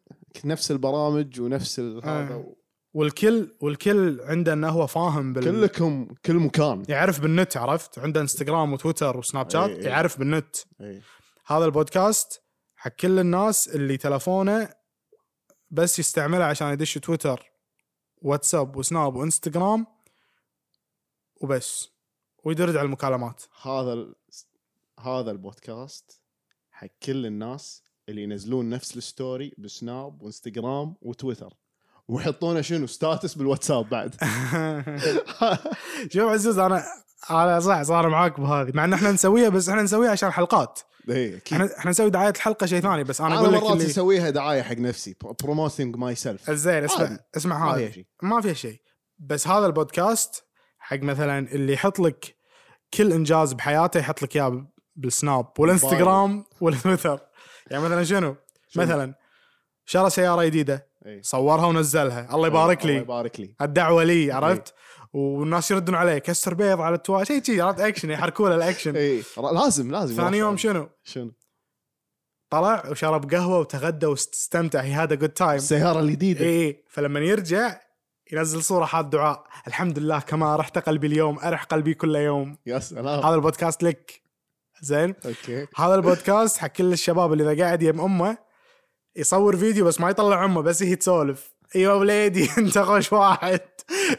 نفس البرامج ونفس ال-
آه.
هذا و-
والكل والكل عنده انه هو فاهم بال
كلكم كل مكان
يعرف بالنت عرفت عنده انستغرام وتويتر وسناب شات
إي إي.
يعرف بالنت
إيه.
هذا البودكاست حق كل الناس اللي تلفونه بس يستعمله عشان يدش تويتر واتساب وسناب وانستغرام وبس ويدرج على المكالمات
هذا ال... هذا البودكاست حق كل الناس اللي ينزلون نفس الستوري بسناب وانستغرام وتويتر ويحطونه شنو ستاتس بالواتساب بعد *laughs*
شوف عزوز انا انا صح صار معاك بهذه مع ان احنا نسويها بس احنا نسويها عشان حلقات
ايه اكيد
احنا احنا نسوي دعايه الحلقه شيء ثاني بس انا
انا
اقول لك
مرات
اللي
اسويها دعايه حق نفسي بروموتنج ماي سيلف
زين اسمع
عادي.
اسمع هذا ما فيها شيء بس هذا البودكاست حق مثلا اللي يحط لك كل انجاز بحياته يحط لك اياه بالسناب والانستغرام والتويتر يعني مثلا شنو؟ مثلا شرى سياره جديده
إيه.
صورها ونزلها الله يبارك إيه.
الله
لي
يبارك لي
الدعوه لي عرفت؟ والناس يردون عليه كسر بيض على التوا شيء شيء عرفت اكشن يحركوا له *laughs* الاكشن
اي إيه، لازم لازم
ثاني يوم شنو؟
شنو
طلع وشرب قهوه وتغدى واستمتع هي هذا جود تايم
السياره الجديده
اي إيه، فلما يرجع ينزل صوره حاط دعاء الحمد لله كما رحت قلبي اليوم ارح قلبي كل يوم
يا سلام
هذا البودكاست لك زين
اوكي
هذا البودكاست حق كل الشباب اللي اذا قاعد يم امه يصور فيديو بس ما يطلع امه بس هي تسولف ايوه وليدي *laughs* انت خوش واحد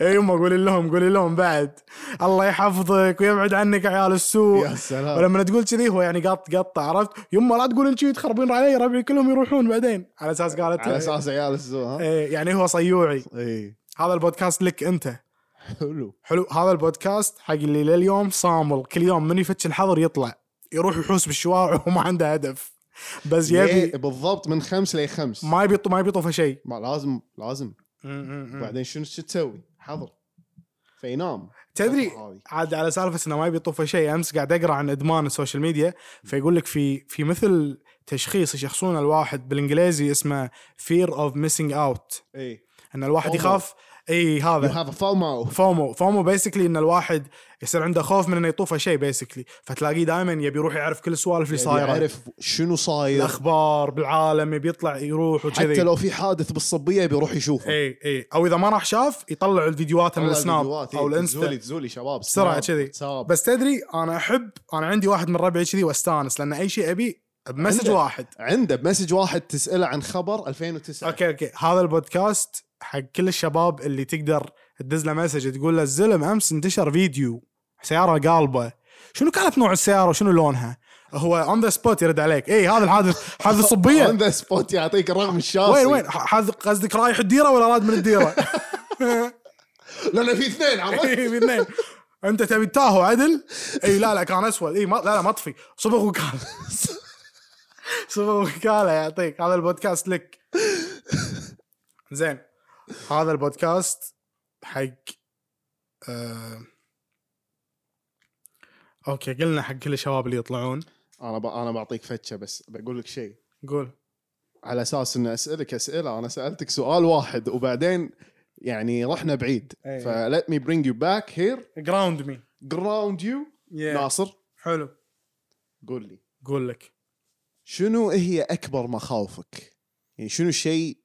اي امه قولي لهم قولي لهم بعد الله يحفظك ويبعد عنك عيال السوء
يا سلام
ولما تقول كذي هو يعني قط قطه عرفت يما لا تقولين كذي تخربين علي ربعي كلهم يروحون بعدين على اساس قالت
على اساس عيال الزو ها
إيه، يعني هو صيوعي
اي
هذا البودكاست لك انت
حلو
حلو هذا البودكاست حق اللي لليوم صامل كل يوم من يفتش الحظر يطلع يروح يحوس بالشوارع *laughs* وما عنده هدف بس
ليه؟
يبي
بالضبط من خمس لخمس
ما يبي ما يبي طوفه شيء
ما لازم لازم بعدين شنو شو تسوي؟ حظر فينام
تدري
هذه.
عاد على سالفه انه ما يبي طوفه شيء امس قاعد اقرا عن ادمان السوشيال ميديا فيقول لك في في مثل تشخيص يشخصون الواحد بالانجليزي اسمه fear of missing out
اي
ان الواحد
FOMO.
يخاف اي
يو
هذا
هاف ا فومو
فومو فومو بيسكلي ان الواحد يصير عنده خوف من انه يطوفه شيء بيسكلي فتلاقيه دائما يبي يروح يعرف كل السوالف اللي صايره
يعني يعرف شنو صاير
الاخبار بالعالم يبي يطلع يروح
حتى
وكذي
لو في حادث بالصبيه بيروح يشوفه
اي اي او اذا ما راح شاف يطلع الفيديوهات من
والله
السناب
الفيديوهات، إيه،
او
تزولي
الانستا
تزولي شباب
بسرعة
سناب،
كذي.
واتساب.
بس تدري انا احب انا عندي واحد من ربعي كذي واستانس لان اي شيء ابي بمسج
عندك.
واحد
عنده بمسج واحد تساله عن خبر 2009
اوكي اوكي هذا البودكاست حق كل الشباب اللي تقدر تدز له مسج تقول له الزلم امس انتشر فيديو سياره قالبه شنو كانت نوع السياره وشنو لونها؟ هو اون ذا سبوت يرد عليك اي هذا الحادث حادث
اون *laughs*
صبيه
ذا سبوت يعطيك الرقم الشاصي
وين وين ح- حادث قصدك رايح الديره ولا راد من الديره؟
لان في اثنين عرفت؟
إي، بالاثنين. انت تبي تاهو عدل؟ اي لا لا كان اسود اي ما لا لا مطفي صبغ وكاله *laughs* صبغ وكاله يعطيك هذا البودكاست لك زين هذا البودكاست حق آه اوكي قلنا حق كل الشباب اللي يطلعون
انا ب... انا بعطيك فتشه بس بقول لك شيء
قول
على اساس ان اسالك اسئله انا سالتك سؤال واحد وبعدين يعني رحنا بعيد
إيه.
فلت مي برينج يو باك هير
جراوند مي
جراوند يو ناصر
حلو
قول لي
قول لك
شنو هي اكبر مخاوفك؟ يعني شنو شيء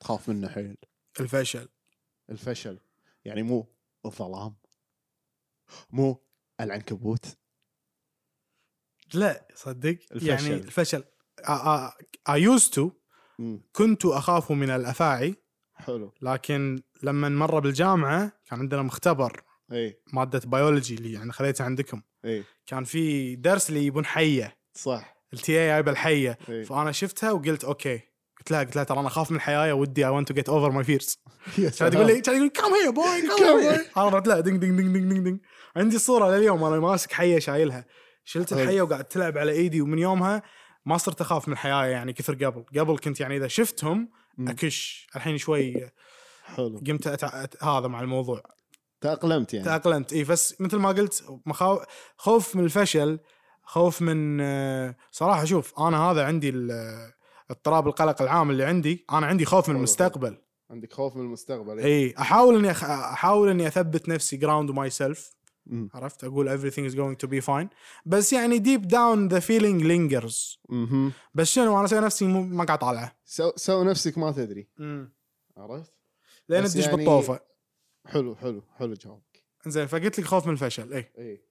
تخاف منه حيل؟
الفشل
الفشل يعني مو الظلام مو العنكبوت
لا صدق
الفشل.
يعني الفشل اي يوز تو
مم.
كنت اخاف من الافاعي
حلو
لكن لما مره بالجامعه كان عندنا مختبر
اي
ماده بيولوجي اللي يعني خليتها عندكم
اي
كان في درس اللي يبون حيه
إيه. صح إيه.
التي اي جايبه الحيه
إي.
فانا شفتها وقلت اوكي قلت لها قلت لها ترى انا اخاف من الحياه يا ودي اي ونت تو جيت اوفر
*laughs*
ماي فيرز
*laughs* يا
كانت تقول لي كانت تقول كم هي بوي كم
Come
هي
here.
بوي انا رحت لها دنج دنج دنج دنج دنج دنج عندي صوره لليوم انا ماسك حيه شايلها شلت
أي.
الحيه وقعدت تلعب على ايدي ومن يومها ما صرت اخاف من الحياه يعني كثر قبل قبل كنت يعني اذا شفتهم
مم.
اكش الحين شوي
حلو
قمت أتع... أت... هذا مع الموضوع
تاقلمت يعني
تاقلمت اي بس مثل ما قلت مخاو... خوف من الفشل خوف من آه، صراحه شوف انا هذا عندي ال- اضطراب القلق العام اللي عندي انا عندي خوف من
والله.
المستقبل
عندك خوف من المستقبل إيه.
اي احاول اني أخ... احاول اني اثبت نفسي جراوند ماي سيلف
مم.
عرفت اقول everything is going to be fine بس يعني deep down the feeling lingers
مهم.
بس شنو انا اسوي نفسي مو ما قاعد طالعه
سو سو نفسك ما تدري عرفت
لين
بس
تدش
يعني-
بالطوفه
حلو حلو حلو جوابك
زين فقلت لك خوف من الفشل إيه. اي
اي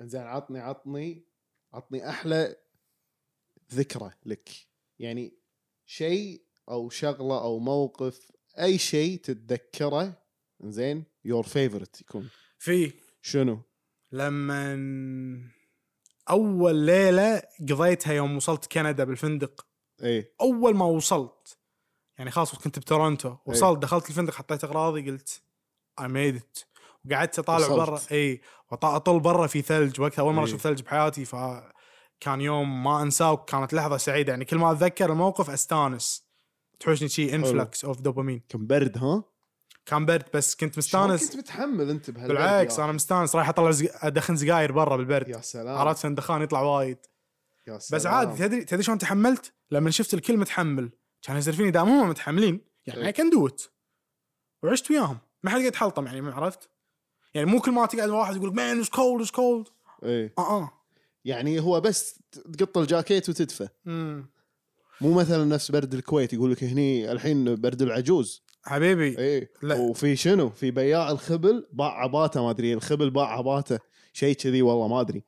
انزين إيه. عطني عطني عطني احلى ذكرى لك يعني شيء او شغله او موقف اي شيء تتذكره زين يور فيفورت يكون
في
شنو؟
لما اول ليله قضيتها يوم وصلت كندا بالفندق
اي
اول ما وصلت يعني خلاص كنت
إيه.
بتورونتو وصلت دخلت الفندق حطيت اغراضي قلت اي ميد ات وقعدت اطالع
وصلت. إيه.
برا اي وط- اطل برا في ثلج وقتها اول مره
إي.
اشوف ثلج بحياتي فكان يوم ما انساه وكانت لحظه سعيده يعني كل ما اتذكر الموقف استانس تحوشني شي انفلكس اوف دوبامين
كم برد ها؟
كان برد بس كنت
شلون
مستانس
كنت متحمل انت بهالبرد
بالعكس
يا-
انا مستانس رايح اطلع زق... ادخن سجاير برا بالبرد
يا سلام
عرفت عشان الدخان يطلع وايد
يا
بس
آه. سلام.
عادي تدري تدري شلون تحملت؟ لما شفت الكل متحمل كان يصير فيني دام هم متحملين يعني اي
إيه.
كان دو ات وعشت وياهم ما حد قاعد يتحلطم يعني ما عرفت؟ يعني مو كل ما تقعد مع واحد يقول لك مان از كولد از كولد
اي
اه اه
إيه. يعني هو بس تقط الجاكيت وتدفى
أمم.
مو مثلا نفس برد الكويت يقول لك هني الحين برد العجوز
حبيبي
ايه
لا.
لا. وفي شنو في بياع الخبل باع عباته ما ادري الخبل باع عباته شيء كذي والله ما ادري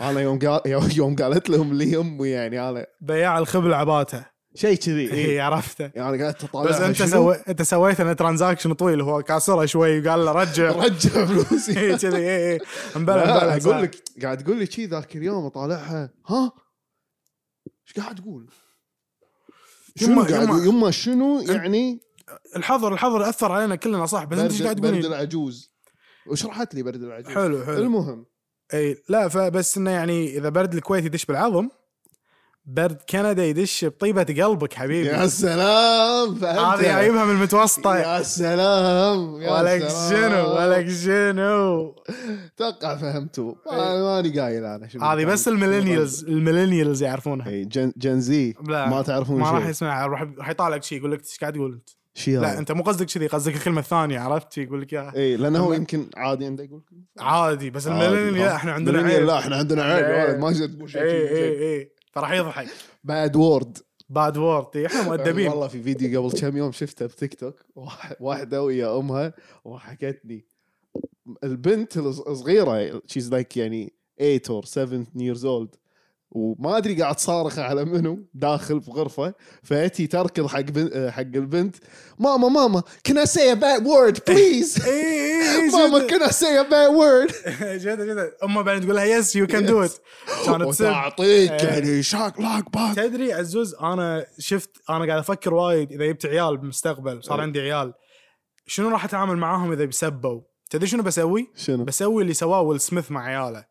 انا يوم قال *laughs* يوم قالت لهم لي امي يعني انا
بياع الخبل عباته
شيء
*laughs*
كذي
اي
إيه.
عرفته
يعني قعدت اطالع
بس انت سوي انت سويت انا ترانزاكشن طويل هو كاسره شوي وقال له
*laughs*
رجع *laughs*
رجع
اي
فلوسي
كذي إيه، اي اي مبلع مبلع
لا، اقول لك قاعد تقول لي شي ذاك اليوم اطالعها ها ايش قاعد تقول؟ شنو
يما-
قاعد
يما-
يما شنو يعني
الحظر الحظر اثر علينا كلنا صح بس انت ايش قاعد
برد, برد
تقول
العجوز وشرحت لي برد العجوز
حلو حلو
المهم
اي لا فبس انه يعني اذا برد الكويت يدش بالعظم برد كندا يدش بطيبه قلبك حبيبي
يا سلام فهمت
إيه. هذه جايبها من المتوسطه
يا سلام يا
ولك
سلام.
شنو ولك شنو
اتوقع فهمتوا ما-
إيه.
ماني قايل انا شنو
هذه
كان-
بس الميلينيالز الميلينيالز يعرفونها
إي، إيه، جن جنزي
لا،
ما تعرفون
ما راح
شيء
يسمعها راح راح يطالعك شيء يقول لك ايش قاعد تقول انت
شيء
لا
لا
انت مو قصدك كذي قصدك الكلمه الثانيه عرفت شي يقول لك يا
اي لانه إيه، هو
أما-
يمكن عادي عنده يقول لك
عادي بس
عادي،
الميلينيال
ها.
لا احنا عندنا
ملينيال،
عيب
لا احنا عندنا عيب يا
إيه.
ولد، ما يصير تقول شيء
اي
شيء
اي اي فراح يضحك
بعد وورد
باد وورد إي، احنا مؤدبين
والله في فيديو قبل كم يوم شفته بتيك توك واحد- واحده ويا امها وحكتني البنت الص- الصغيره شيز لايك يعني 8 اور 7 years old وما ادري قاعد صارخه على منو داخل بغرفه فاتي تركض حق بن... حق البنت ماما ماما can I say a bad word please
*laughs* اي اي
*laughs*
اي
ماما
جد.
can I say a bad word
جد جد امه بعدين تقول لها يس يو كان دو ات *laughs*
*laughs*
كانت تسب
وتعطيك
إيه.
"Oh, يعني شاك لاك باك
تدري عزوز انا شفت انا قاعد افكر وايد اذا جبت عيال بالمستقبل صار
إيه.
عندي عيال شنو راح اتعامل معاهم اذا بيسبوا تدري شنو بسوي؟
شنو
بسوي اللي سواه ويل سميث مع عياله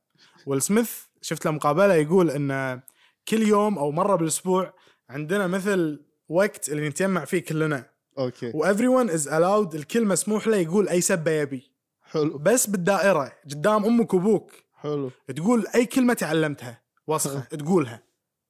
ويل سميث شفت له مقابله يقول انه كل يوم او مره بالاسبوع عندنا مثل وقت اللي نتجمع فيه كلنا
اوكي
وافري ون از الاود الكل مسموح له يقول اي سبه يبي
حلو
بس بالدائره قدام امك وابوك
حلو
تقول اي كلمه تعلمتها وسخه تقولها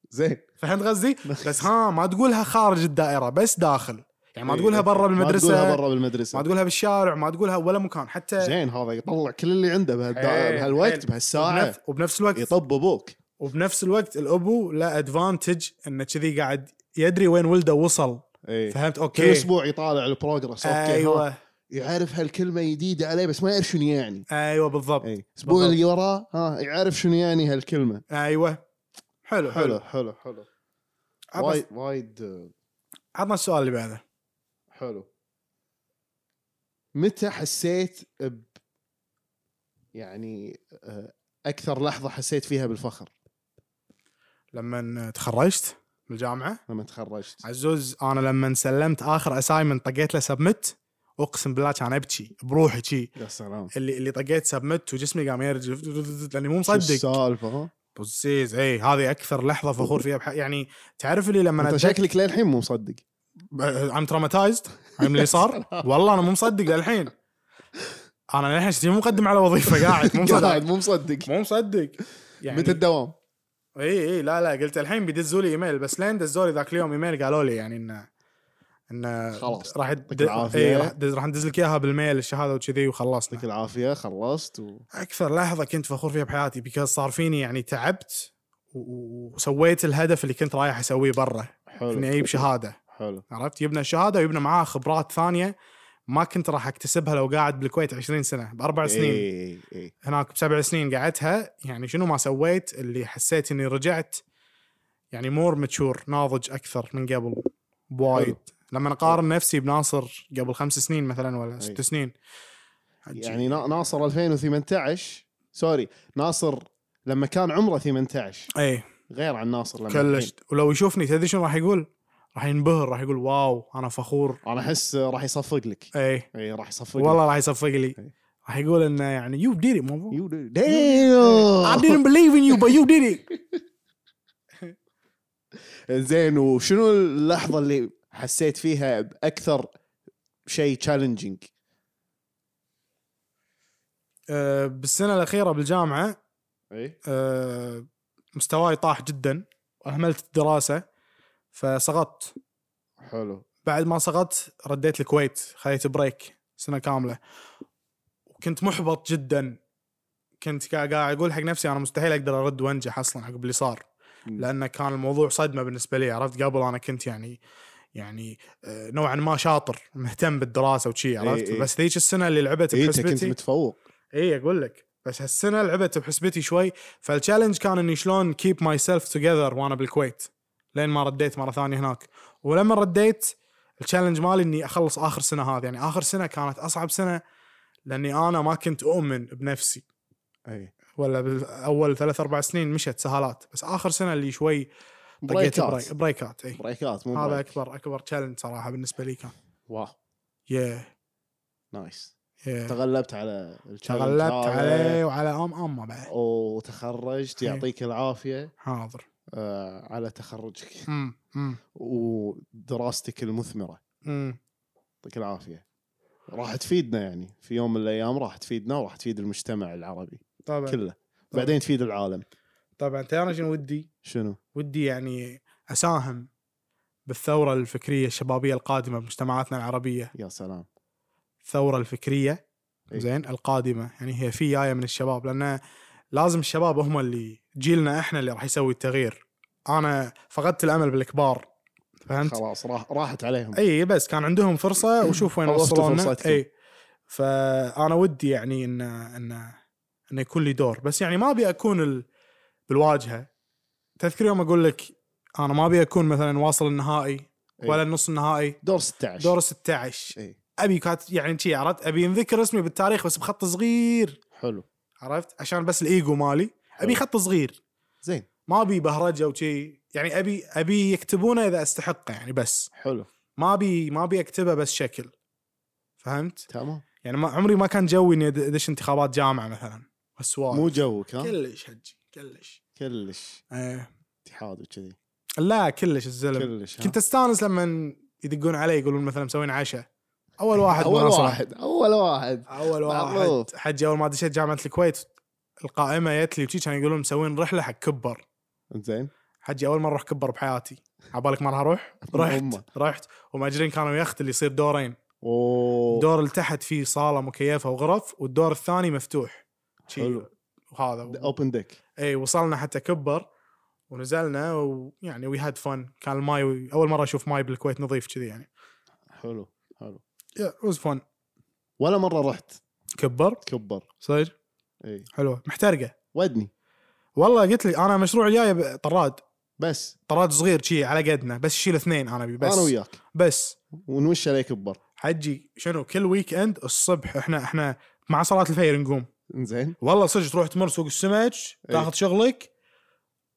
زين
فهمت
*laughs*
قصدي؟ بس ها ما تقولها خارج الدائره بس داخل يعني ما
إيه،
تقولها
أوكي.
برا
ما
بالمدرسه
تقولها برا بالمدرسه
ما تقولها بالشارع ما تقولها ولا مكان حتى
زين هذا يطلع كل اللي عنده بهالدا-
إيه،
بهالوقت
حلو.
بهالساعه
وبنف- وبنفس الوقت
يطب ابوك
وبنفس الوقت الابو له ادفانتج انه كذي قاعد يدري وين ولده وصل
إيه.
فهمت
كل
اوكي
اسبوع يطالع البروجرس اوكي
ايوه
ايوه يعرف هالكلمه جديده عليه بس ما يعرف شنو يعني
ايوه بالضبط
اي الاسبوع
بالضبط.
اللي وراه ها يعرف شنو يعني هالكلمه
ايوه حلو
حلو
حلو
حلو حلو
عطنا-
وايد وايد آه،
عطنا السؤال اللي بعده
حلو متى حسيت ب يعني آه، اكثر لحظه حسيت فيها بالفخر
لما تخرجت من الجامعه
لما تخرجت
عزوز انا لما سلمت اخر اسايمنت طقيت له سبمت اقسم بالله كان ابكي بروحي شي
يا سلام
اللي اللي طقيت سبمت وجسمي قام يرجف لاني مو
شو
مصدق
السالفه ها؟
بوزيز اي هذه اكثر لحظه فخور فيها بح... يعني تعرف اللي لما
انت
أتذكر-
شكلك للحين مو مصدق *laughs*
ام تراماتايزد عن اللي صار والله انا مو مصدق للحين انا الحين شتي مو مقدم على وظيفه قاعد مو مصدق
قاعد مو مصدق
مو مصدق يعني
متى الدوام؟
اي اي ايه، لا لا قلت الحين بيدزوا لي ايميل بس لين دزوا لي ذاك اليوم ايميل قالوا لي يعني انه انه
خلاص.
راح
يعطيك
د...
العافية.
اي راح, دز... راح ندز لك اياها بالميل الشهاده وكذي وخلصنا
يعطيك العافيه خلصت و...
اكثر لحظه كنت فخور فيها بحياتي بيكوز صار فيني يعني تعبت و- و- وسويت الهدف اللي كنت رايح اسويه برا اني
حلو
اجيب شهاده
حلو
عرفت يبنى شهاده ويبنى معاه خبرات ثانيه ما كنت راح اكتسبها لو قاعد بالكويت 20 سنه
إيه.
باربع سنين
اي اي
هناك بسبع سنين قعدتها يعني شنو ما سويت اللي حسيت اني رجعت يعني مور متشور ناضج اكثر من قبل بوايد
حلو.
لما اقارن نفسي بناصر قبل خمس سنين مثلا ولا ست سنين
إيه. يعني نا- ناصر 2018 سوري ناصر لما كان عمره 18
اي
غير عن ناصر لما
كلش إيه، ولو يشوفني تدري شنو راح يقول؟ راح ينبهر راح يقول واو انا فخور
الحين. انا احس راح يصفق لك
اي
اي راح يصفق لك
والله راح يصفق لي
إي.
راح يقول انه يعني يو ديري مو
*laughs* You do-
I
Damn.
didn't believe in you but you did it *laughs*
زين وشنو اللحظه اللي حسيت فيها باكثر شيء تشالنجينج
آه، بالسنه الاخيره بالجامعه
اي
آه، مستواي طاح جدا واهملت الدراسه فسقطت
حلو
بعد ما سقطت رديت الكويت خذيت بريك سنه كامله وكنت محبط جدا كنت قاعد قاعد اقول حق نفسي انا مستحيل اقدر ارد وانجح اصلا حق اللي صار
مم.
لان كان الموضوع صدمه بالنسبه لي عرفت قبل انا كنت يعني يعني آه، نوعا ما شاطر مهتم بالدراسه
إيه،
وشي عرفت
إي.
بس ذيك السنه اللي لعبت
اي انت إيه، كنت
بحسبتي
متفوق
اي اقول إيه، لك بس هالسنه لعبت بحسبتي شوي فالتشالنج كان اني شلون كيب ماي سيلف توجذر وانا بالكويت لين ما رديت مره ثانيه هناك ولما رديت التشالنج مالي اني اخلص اخر سنه هذه يعني اخر سنه كانت اصعب سنه لاني انا ما كنت اؤمن بنفسي
اي
ولا باول ثلاث اربع سنين مشت سهالات بس اخر سنه اللي شوي طقيت بريك-
بريكات
بريكات اي
بريكات مو
هذا
بريك.
اكبر اكبر تشالنج صراحه بالنسبه لي كان
واو
يا
نايس
يا
تغلبت على ال challenge
تغلبت
هذا.
عليه إيه. وعلى ام امه بعد
وتخرجت
إي.
يعطيك العافيه
حاضر
آه على تخرجك
امم امم
ودراستك المثمره
امم
يعطيك العافيه راح تفيدنا يعني في يوم من الايام راح تفيدنا وراح تفيد المجتمع العربي
طبعا
كله بعدين تفيد العالم
طبعا ترى أنا شنو ودي؟
شنو؟
ودي يعني اساهم بالثوره الفكريه الشبابيه القادمه بمجتمعاتنا العربيه،
يا سلام
الثوره الفكريه
إيه.
زين القادمه يعني هي في جايه من الشباب لان لازم الشباب هم اللي جيلنا احنا اللي راح يسوي التغيير. انا فقدت الامل بالكبار فهمت؟
خلاص راح راحت عليهم
اي بس كان عندهم فرصه وشوف وين
خلصتوا
وصلونا
فرصتكم.
اي فانا ودي يعني ان ان ان يكون لي دور بس يعني ما ابي اكون ال... بالواجهه تذكر يوم اقول لك انا ما ابي اكون مثلا واصل النهائي
إي.
ولا النص النهائي
دور إيه. 16
دور 16
اي
ابي كات يعني شي عرفت ابي ينذكر اسمي بالتاريخ بس بخط صغير
حلو
عرفت عشان بس الايجو مالي ابي
حلو.
خط صغير
زين
ما ابي بهرجه وشي يعني ابي ابي يكتبونه اذا استحقه يعني بس
حلو
ما ابي ما ابي اكتبها بس شكل فهمت؟
تمام
يعني ما عمري ما كان جوي اني أد- ادش انتخابات جامعه مثلا
مو
والسوالف
جوك ها
كلش هجي كلش
كلش
ايه
اتحاد وكذي
لا كلش الزلم
كلش ها؟
كنت استانس لما يدقون علي يقولون مثلا مسوين عشاء اول واحد
اول
مناصرة.
إيه، واحد اول واحد
اول واحد
معروف.
حجي اول ما دشيت جامعه الكويت القائمه جت لي وشي كانوا يقولون مسوين رحله حق كبر
زين
حجي اول مره اروح كبر بحياتي عبالك ما راح اروح
أمه.
رحت رحت وماجرين كانوا يخت اللي يصير دورين
اوه
الدور اللي تحت فيه صاله مكيفه وغرف والدور الثاني مفتوح شي
حلو.
وهذا و...
اوبن ديك
اي وصلنا حتى كبر ونزلنا يعني ويعني وي هاد فن كان الماي اول مره اشوف ماي بالكويت نظيف كذي يعني
حلو حلو
وز فن
ولا مره رحت
كبر
تكبر
صدق
اي
حلوه محترقه
ودني
والله قلت لي انا مشروع جاي ب- طراد
بس,
طراد صغير شي على قدنا بس شيل اثنين انا ابي
بس.
بس
انا وياك
بس
ونوش عليك كبر
حجي شنو كل ويك اند الصبح احنا احنا مع صلاه الفجر نقوم
زين
والله صدق تروح تمر سوق السمك
إي.
تاخذ شغلك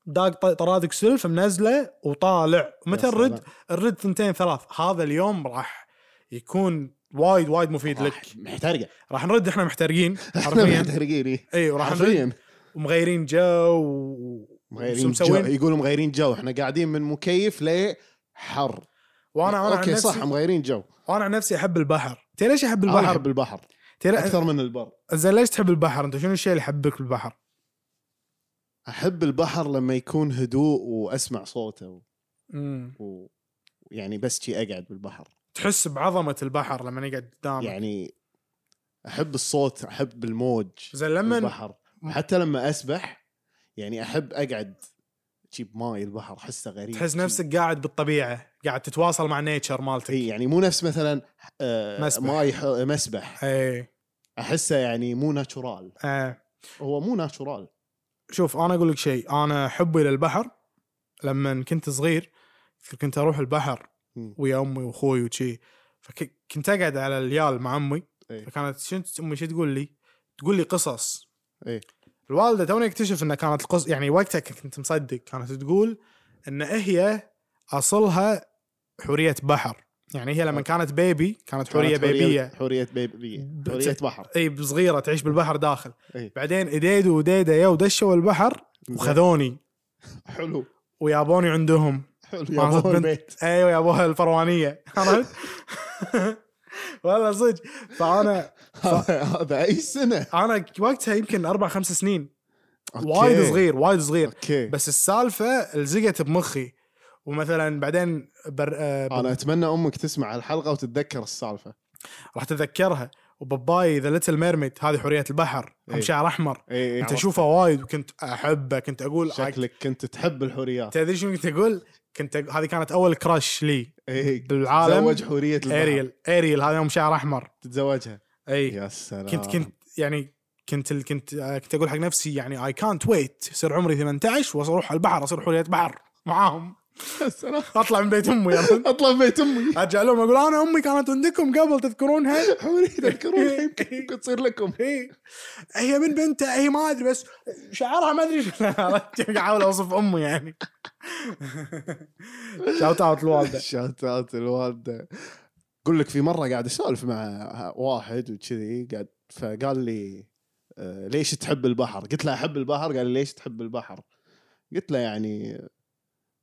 داق ط- طرادق سلف منزله وطالع متى
يا
الرد
سلام.
الرد ثنتين ثلاث هذا اليوم راح يكون وايد وايد مفيد لك
راح- *laughs* محترقه
راح نرد
*laughs*
احنا محترقين
احنا
حرفيا
محترقين إي.
اي وراح نرد
حرفيا
ومغيرين جو و-
مغيرين جو
مسوين؟
يقولوا مغيرين جو احنا قاعدين من مكيف لحر
وانا انا عن
اوكي
نفسي
صح آه، مغيرين جو
وانا عن نفسي احب البحر تدري ليش احب
البحر
البحر؟
احب البحر
ترى
اكثر من البر
زين ليش تحب البحر انت شنو الشيء اللي يحبك بالبحر
احب البحر لما يكون هدوء واسمع صوته
مم.
و- ويعني بس شي اقعد بالبحر
تحس بعظمه البحر لما يقعد قدامك يعني
يعني احب الصوت احب الموج
زين لما
البحر حتى لما اسبح يعني احب اقعد شي بماي البحر حسه غريب
تحس
شي.
نفسك قاعد بالطبيعه قاعد تتواصل مع نيتشر مالتك
اي يعني مو نفس مثلا آه
مسبح.
ماي ح- مسبح
اي
احسه يعني مو ناتشورال
آه.
هو مو ناتشورال
شوف انا اقول لك شيء انا حبي للبحر لما كنت صغير كنت اروح البحر
مم.
ويا امي واخوي وشي فكنت اقعد على اليال مع امي
إيه.
فكانت شنو امي شو تقول لي؟ تقول لي قصص
إيه.
الوالده توني اكتشف انها كانت القص يعني وقتها كنت مصدق كانت تقول ان هي اصلها حوريه بحر يعني هي لما
أوكي.
كانت بيبي كانت حوريه
آه. كانت
بيبيه
حوريه بيبيه
بت-
حوريه بحر
اي صغيره تعيش بالبحر داخل
إيه.
بعدين اديدو وديدا يا ودشوا البحر وخذوني
حلو
ويابوني عندهم
حلو
ما
يا
أخذ
أبو
بنت.
البيت
ايوه يا ابوها الفروانيه *laughs* عرفت؟ والله صدق فانا
هذا *laughs* هذا اي سنه
انا وقتها يمكن اربع خمس سنين
أوكي.
وايد صغير وايد صغير
اوكي
بس السالفه لزقت بمخي ومثلا بعدين بر... آه، ب-
انا اتمنى امك تسمع الحلقه وتتذكر السالفه
راح تتذكرها وباباي ذا ليتل ميرميد هذه حوريه البحر هم
إيه.
شعر احمر
اي اي
كنت
عرفت.
اشوفه وايد وكنت احبه كنت اقول
شكلك كنت تحب الحوريات
تدري شنو كنت اقول؟ كنت أق- هذه كانت اول كراش لي
اي
بالعالم
تزوج حوريه البحر
اريل اريل هذا يوم شعر احمر
تتزوجها
اي
يا سلام
كنت كنت يعني كنت ال- كنت آه، كنت اقول حق نفسي يعني اي كانت ويت يصير عمري 18 واروح على البحر اصير حوريه بحر معاهم
*laughs* يا سلام
اطلع من بيت امي عرفت؟
اطلع من بيت امي
ارجع لهم اقول انا امي كانت عندكم قبل تذكرونها
حوريه
إيه،
تذكرونها يمكن يمكن تصير لكم
هي هي من بنتها هي ما ادري بس شعرها ما ادري شنو *laughs* عرفت؟ احاول اوصف امي يعني *laughs* شاوت اوت الوالده
شاتات الوالده اقول لك في مره قاعد اسولف مع واحد وكذي قاعد فقال لي آه، ليش تحب البحر؟ قلت له احب البحر قال لي ليش تحب البحر؟ قلت له يعني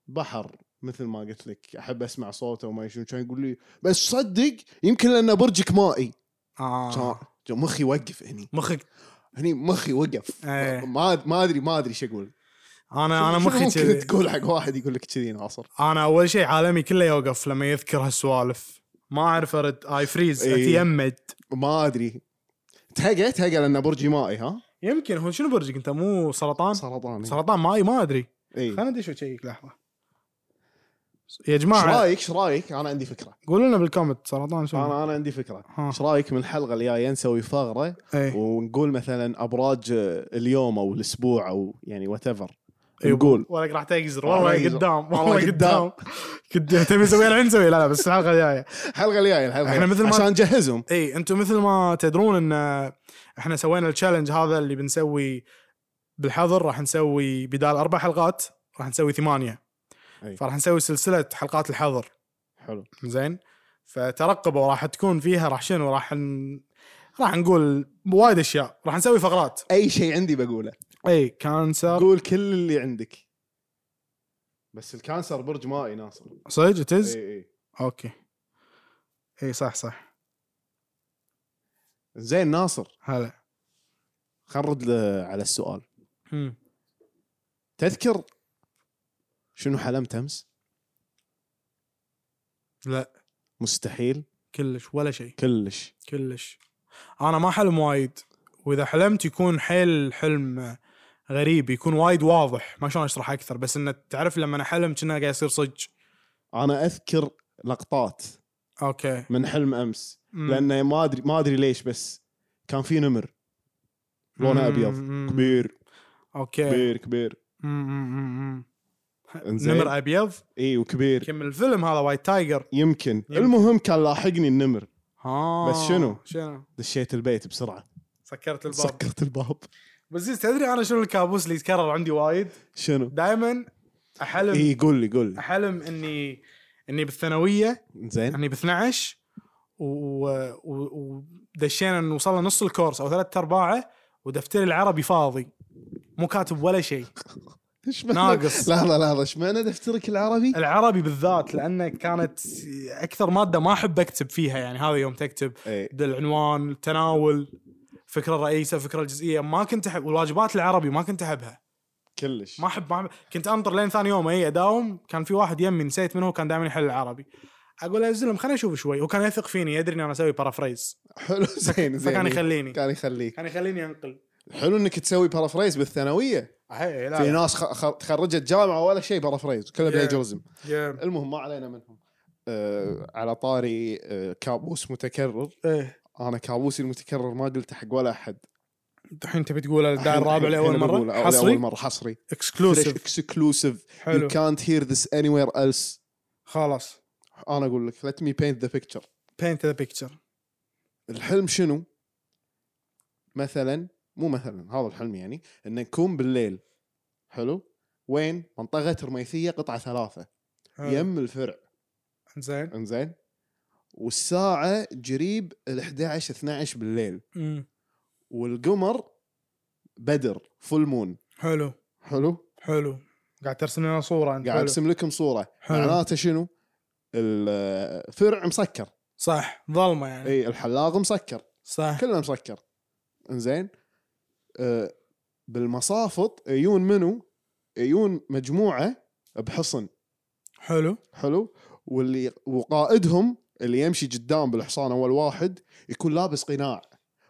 بحر مثل ما قلت لك احب اسمع صوته وما شنو كان يقول لي بس صدق يمكن لان برجك مائي
آه.
كان- مخي وقف هني
مخك
هني مخي وقف
إيه.
ما ما ادري ما ادري شو اقول
انا انا
شو
مخي
ممكن
كذي
تقول حق واحد يقول لك كذي ناصر
انا اول شيء عالمي كله يوقف لما يذكر هالسوالف ما اعرف ارد اي فريز
إيه.
اتيمد
ما ادري تهقى تهقى لان برجي مائي ها
يمكن هو شنو برجك انت مو سرطان
سرطان إي.
سرطان ماي ما ادري
اي
خلينا ندش وشيك لحظه يا
ايش
جماعه
رايك ايش رايك انا عندي فكره
قولوا لنا بالكومنت سرطان شنو
انا انا عندي فكره
ها.
ايش رايك من الحلقه الجايه نسوي فقره
ايه
ونقول مثلا ابراج آه، اليوم او الاسبوع او يعني وات ايفر
أيوة.
نقول
ولك راح تقزر
والله
والله
يقزر.
قدام
والله
والله قدام كنت تبي نسويها الحين نسويها لا لا بس الحلقه الجايه
الحلقه الجايه الحلقه
إحنا
الجاية.
مثل ما-
عشان نجهزهم
اي انتم مثل ما تدرون ان آه، احنا سوينا التشالنج هذا اللي بنسوي بالحظر راح نسوي بدال اربع حلقات راح نسوي ثمانيه
أي.
فراح نسوي سلسله حلقات الحظر
حلو
زين فترقبوا راح تكون فيها راح شنو راح ن... راح نقول وايد اشياء راح نسوي فقرات
اي شيء عندي بقوله
اي كانسر
قول كل اللي عندك بس الكانسر برج مائي ناصر
صدق تز
اي اي
اوكي اي صح صح
زين ناصر
هلا
خلينا نرد ل- على السؤال
هم.
تذكر شنو حلمت امس؟
لا
مستحيل
كلش ولا شيء
كلش
كلش انا ما حلم وايد واذا حلمت يكون حيل حلم غريب يكون وايد واضح ما شلون اشرح اكثر بس انه تعرف لما انا حلم كنا قاعد يصير صدق
انا اذكر لقطات
اوكي
من حلم امس
مم.
لانه ما ادري ما ادري ليش بس كان في نمر لونه
مم.
ابيض
مم.
كبير
اوكي
كبير كبير
مم. مم. مم.
إنزين.
نمر ابيض
اي وكبير
كم الفيلم هذا وايت تايجر
يمكن.
يمكن.
المهم كان لاحقني النمر
ها
بس شنو؟
شنو
دشيت البيت بسرعه
سكرت الباب
سكرت الباب
بس زين، تدري انا شنو الكابوس اللي يتكرر عندي وايد
شنو
دائما احلم
اي قول لي قول لي
احلم اني اني بالثانويه
زين
يعني ب 12 ودشينا و... و... ودشينا إن وصلنا نص الكورس او ثلاث ارباعه ودفتري العربي فاضي مو كاتب ولا شيء
اشمعنى
ناقص.
لحظه لحظه اشمعنى دفترك العربي؟
العربي بالذات لانه كانت اكثر ماده ما احب اكتب فيها يعني هذا يوم تكتب
اي
العنوان التناول فكره الرئيسه فكره الجزئيه ما كنت احب والواجبات العربي ما كنت احبها
كلش
ما احب ما أحب. كنت انطر لين ثاني يوم اي اداوم كان في واحد يمي نسيت منه كان دائما يحل العربي اقول له زلم خليني اشوف شوي وكان يثق فيني يدري اني انا اسوي بارافريز
حلو زين زين
فكان
إي.
يخليني
كان يخليك
كان يخليني يعني انقل
حلو انك تسوي بارافريز بالثانويه
أهي، لا إيه.
في ناس خ... خ... تخرجت جامعه ولا شيء بارافريز كله
Yeah.
بلاجرزم
يا-
المهم ما علينا منهم آه على طاري آه كابوس متكرر
إيه.
انا كابوسي المتكرر ما قلته حق ولا احد
الحين تبي تقول الداعي
الحين-
الرابع
الحين
لاول
بقوله،
مره
أو لاول
حصري
مره حصري
اكسكلوسيف
اكسكلوسيف
حلو
You can't hear this anywhere else.
خلاص
أنا أقول لك let me paint the picture.
بينت ذا بيكتشر
الحلم شنو؟ مثلا مو مثلا هذا الحلم يعني أن نكون بالليل حلو؟ وين؟ منطقة ترميثية قطعة ثلاثة يم الفرع
زين
انزين والساعة قريب ال 11 12 بالليل
مم.
والقمر بدر فول مون
حلو
حلو؟
حلو قاعد ترسم لنا صوره انت
قاعد
حلو.
ارسم لكم صورة
حلو.
معناته شنو؟ الفرع مسكر
صح ظلمه يعني
اي الحلاق مسكر
صح
كله مسكر انزين آه بالمصافط يجون منو؟ يجون مجموعه بحصن
حلو
حلو واللي وقائدهم اللي يمشي قدام بالحصان اول واحد يكون لابس قناع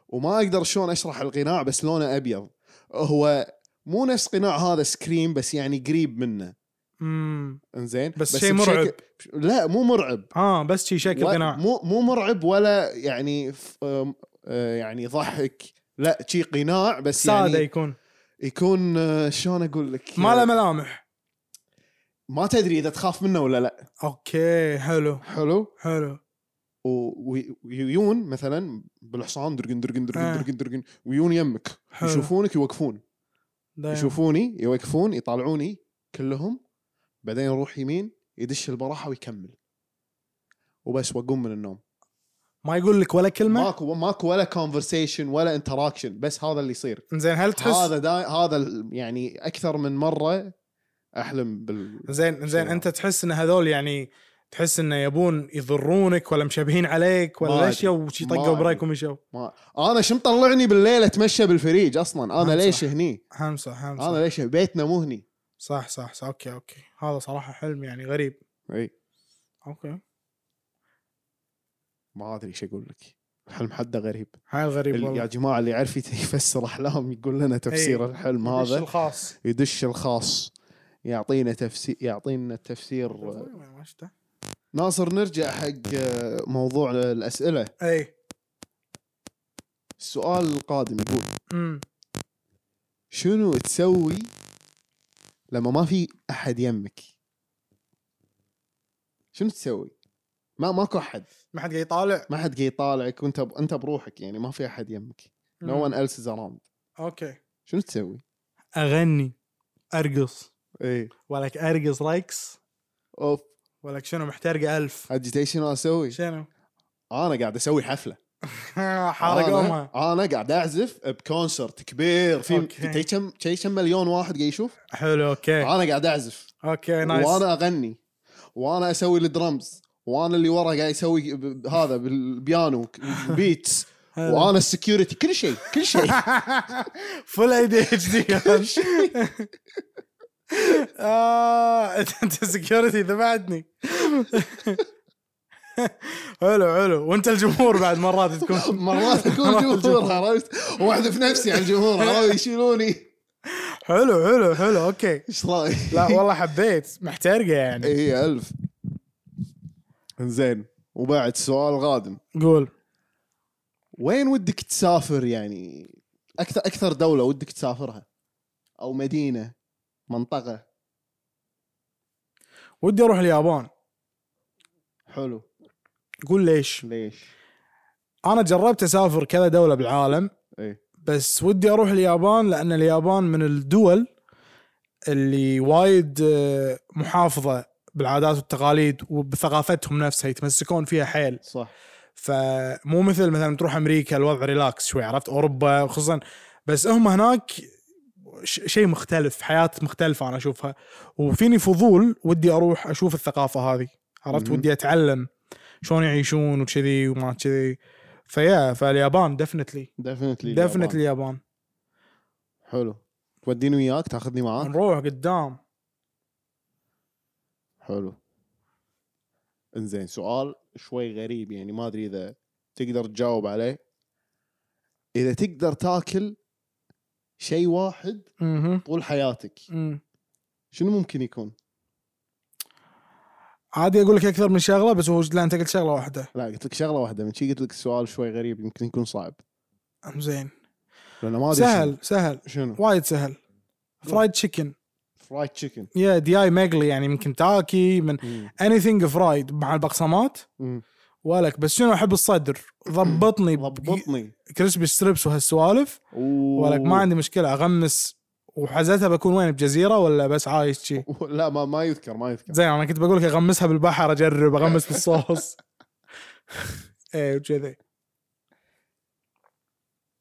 وما اقدر شلون اشرح القناع بس لونه ابيض هو مو نفس قناع هذا سكريم بس يعني قريب منه
امم
انزين
بس شيء
بشكل-
مرعب.
لا مو مرعب
اه بس شي شكل
و-
قناع
مو مو مرعب ولا يعني ف- أم- آه، يعني ضحك لا شي قناع بس
ساده
يعني
يكون
يكون آه، شلون اقول لك
ما له ملامح
ما تدري اذا تخاف منه ولا لا
اوكي حلو
حلو
حلو
و- وي- ويون مثلا بالحصان درقن درقن درقن
آه.
درقن درقن ويون يمك
حلو. آه.
يشوفونك يوقفون
دايم.
يشوفوني يوقفون يطالعوني كلهم بعدين يروح يمين يدش البراحه ويكمل وبس واقوم من النوم
ما يقول لك ولا كلمه
ماكو ماكو ولا كونفرسيشن ولا انتراكشن بس هذا اللي يصير
زين هل تحس
هذا دا هذا ال- يعني اكثر من مره احلم بال
زين زين
شنو؟
انت تحس ان هذول يعني تحس انه يبون يضرونك ولا مشبهين عليك
ما
ولا ليش
أدري.
يو شي
ما
طقوا
أدري.
بريك ومشوا
ما انا شو مطلعني بالليل اتمشى بالفريج اصلا انا
هم
ليش
صح.
هني؟
همسه همسه
انا ليش بيتنا مو هني؟
صح صح صح اوكي اوكي هذا صراحه حلم يعني غريب
اي
اوكي
ما ادري ايش اقول لك الحلم حده غريب
هاي غريب
ال- يا
والله
جماعه اللي يعرف يت- يفسر احلام يقول لنا تفسير
إي.
الحلم
الدش
هذا
الخاص
يدش الخاص يعطينا تفسير يعطينا تفسير
ما شفته
ناصر نرجع حق آه، موضوع الاسئله
اي
السؤال القادم يقول
امم
شنو تسوي لما ما في احد يمك شنو تسوي ما ماكو احد
ما حد قاعد يطالع
ما حد قاعد يطالعك وانت ب... انت بروحك يعني ما في احد يمك نو ون ايلس از اراوند
اوكي
شنو تسوي
اغني ارقص
اي
ولك ارقص ريكس
اوف
ولك شنو محترقه ألف
عاد جيت شنو اسوي
شنو *laughs*
انا قاعد اسوي حفله
حارق
أنا-
امها
انا قاعد اعزف بكونسرت كبير في
أوكي.
شي كم شي كم مليون واحد قاعد يشوف
حلو اوكي
انا قاعد اعزف
اوكي نايس
وانا اغني وانا اسوي الدرمز وانا اللي ورا قاعد يسوي ب- ب- هذا بالبيانو بيتس *laughs*
حلو.
وانا السكيورتي كل شيء كل شيء
*laughs* فل اي دي اتش دي
*laughs*
آه، انت سكيورتي ذبحتني *laughs* حلو حلو وانت الجمهور بعد مرات تكون
مرات اكون جمهور عرفت واحذف نفسي على الجمهور عرفت يشيلوني
حلو حلو حلو اوكي
ايش رايك؟
لا والله حبيت محترقه يعني
اي الف إيه، زين وبعد سؤال قادم
قول
وين ودك تسافر يعني اكثر اكثر دوله ودك تسافرها او مدينه منطقه
ودي اروح اليابان
حلو
قول ليش
ليش؟
انا جربت اسافر كذا دوله بالعالم
اي
بس ودي اروح اليابان لان اليابان من الدول اللي وايد آه، محافظه بالعادات والتقاليد وبثقافتهم نفسها يتمسكون فيها حيل
صح
فمو مثل مثلا تروح امريكا الوضع ريلاكس شوي عرفت اوروبا خصوصا بس هم هناك ش- شيء مختلف حياه مختلفه انا اشوفها وفيني فضول ودي اروح اشوف الثقافه هذه عرفت
مم.
ودي اتعلم شلون يعيشون وكذي وما كذي فيا فاليابان ديفنتلي
ديفنتلي
ديفنتلي اليابان
حلو توديني وياك تاخذني معاك
نروح قدام
حلو انزين سؤال شوي غريب يعني ما ادري اذا تقدر تجاوب عليه اذا تقدر تاكل شيء واحد
مهم.
طول حياتك
مم.
شنو ممكن يكون؟
عادي اقول لك اكثر من شغله بس هو لا انت قلت شغله واحده
لا قلت لك شغله واحده من شي قلت لك سؤال شوي غريب يمكن يكون صعب
زين
لانه ما ادري
سهل سهل
شنو, شنو؟
وايد سهل فرايد تشيكن
فرايد تشيكن
يا دياي مقلي يعني من كنتاكي من اني ثينج فرايد مع البقسمات ولك بس شنو احب الصدر
*clears throat*
ضبطني
ضبطني
كريسبي ستريبس وهالسوالف ولك ما عندي مشكله اغمس وحزتها بكون وين بجزيره ولا بس عايش شي
*laughs* لا ما ما يذكر ما يذكر
زين انا كنت بقول لك اغمسها بالبحر اجرب اغمس بالصوص ايه وكذي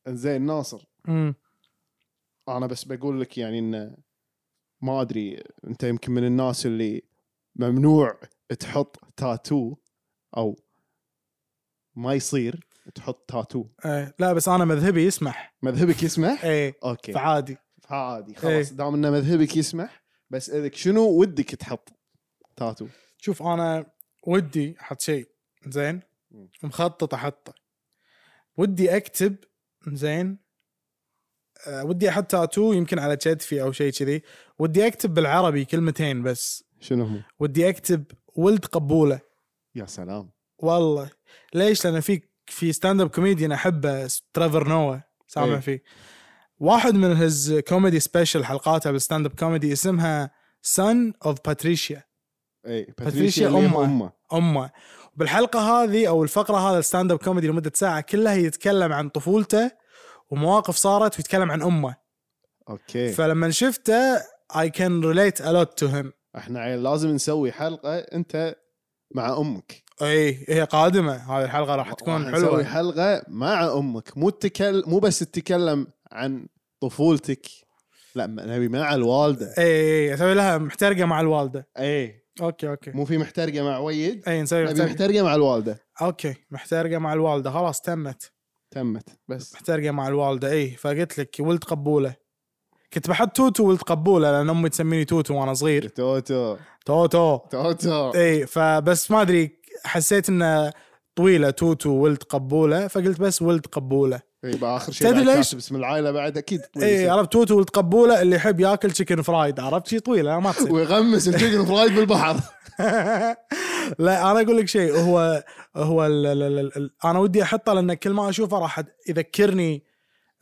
زين ناصر
أمم.
انا بس بقول لك يعني انه ما ادري انت يمكن من الناس اللي ممنوع تحط تاتو او ما يصير تحط تاتو
إيه. لا بس انا مذهبي يسمح
مذهبك
*laughs*
يسمح
ايه
اوكي
فعادي إيه.
فعادي خلاص دام ان مذهبك يسمح بس اذك شنو ودك تحط تاتو
شوف انا ودي احط شيء زين
مم.
مخطط احطه ودي اكتب زين أه ودي احط تاتو يمكن على كتفي او شيء كذي ودي اكتب بالعربي كلمتين بس
شنو هم
ودي اكتب ولد قبوله
يا سلام
والله ليش لان في في ستاند اب كوميديان احبه اس- تريفر نوا سامع
إيه.
فيه واحد من هز كوميدي سبيشل حلقاته بالستاند اب كوميدي اسمها سن اوف باتريشيا
اي
باتريشيا
باتريشيا إيه، اللي هي
أمه.
امه
امه بالحلقه هذه او الفقره هذا الستاند اب كوميدي لمده ساعه كلها يتكلم عن طفولته ومواقف صارت ويتكلم عن امه
اوكي
فلما شفته I can relate a lot to him
احنا عيل لازم نسوي حلقه انت مع امك
اي إيه، هي قادمه هذه الحلقه راح تكون
نسوي
حلوه
حلقه مع امك مو تتكل مو بس تتكلم عن طفولتك لا م- نبي مع الوالده
اي اي اسوي إيه، لها محترقه مع الوالده
اي
اوكي اوكي
مو في محترقه مع ويد
اي إيه، نسوي
نبي
محترقه
محترقه مع الوالده
اوكي محترقه مع الوالده خلاص تمت
تمت بس
محترقه مع الوالده اي فقلت لك ولد قبوله كنت بحط توتو ولد قبوله لان امي تسميني توتو وانا
إيه.
صغير
توتو
توتو
توتو
اي إيه، فبس ما ادري حسيت انه طويله توتو ولد قبوله فقلت بس ولد قبوله
اي بقى اخر إيه، شيء
تدري
بعد
ليش؟ إيه،
كاتب اسم العائله بعد اكيد طويل
اي
يصير.
عرفت توتو ولد قبوله اللي يحب ياكل تشيكن فرايد عرفت شي طويله ما تصير
ويغمس الشيكن فرايد بالبحر
*laughs* لا انا اقول لك شيء هو هو ال ال ال ال انا ودي احطه لان كل ما اشوفه راح يذكرني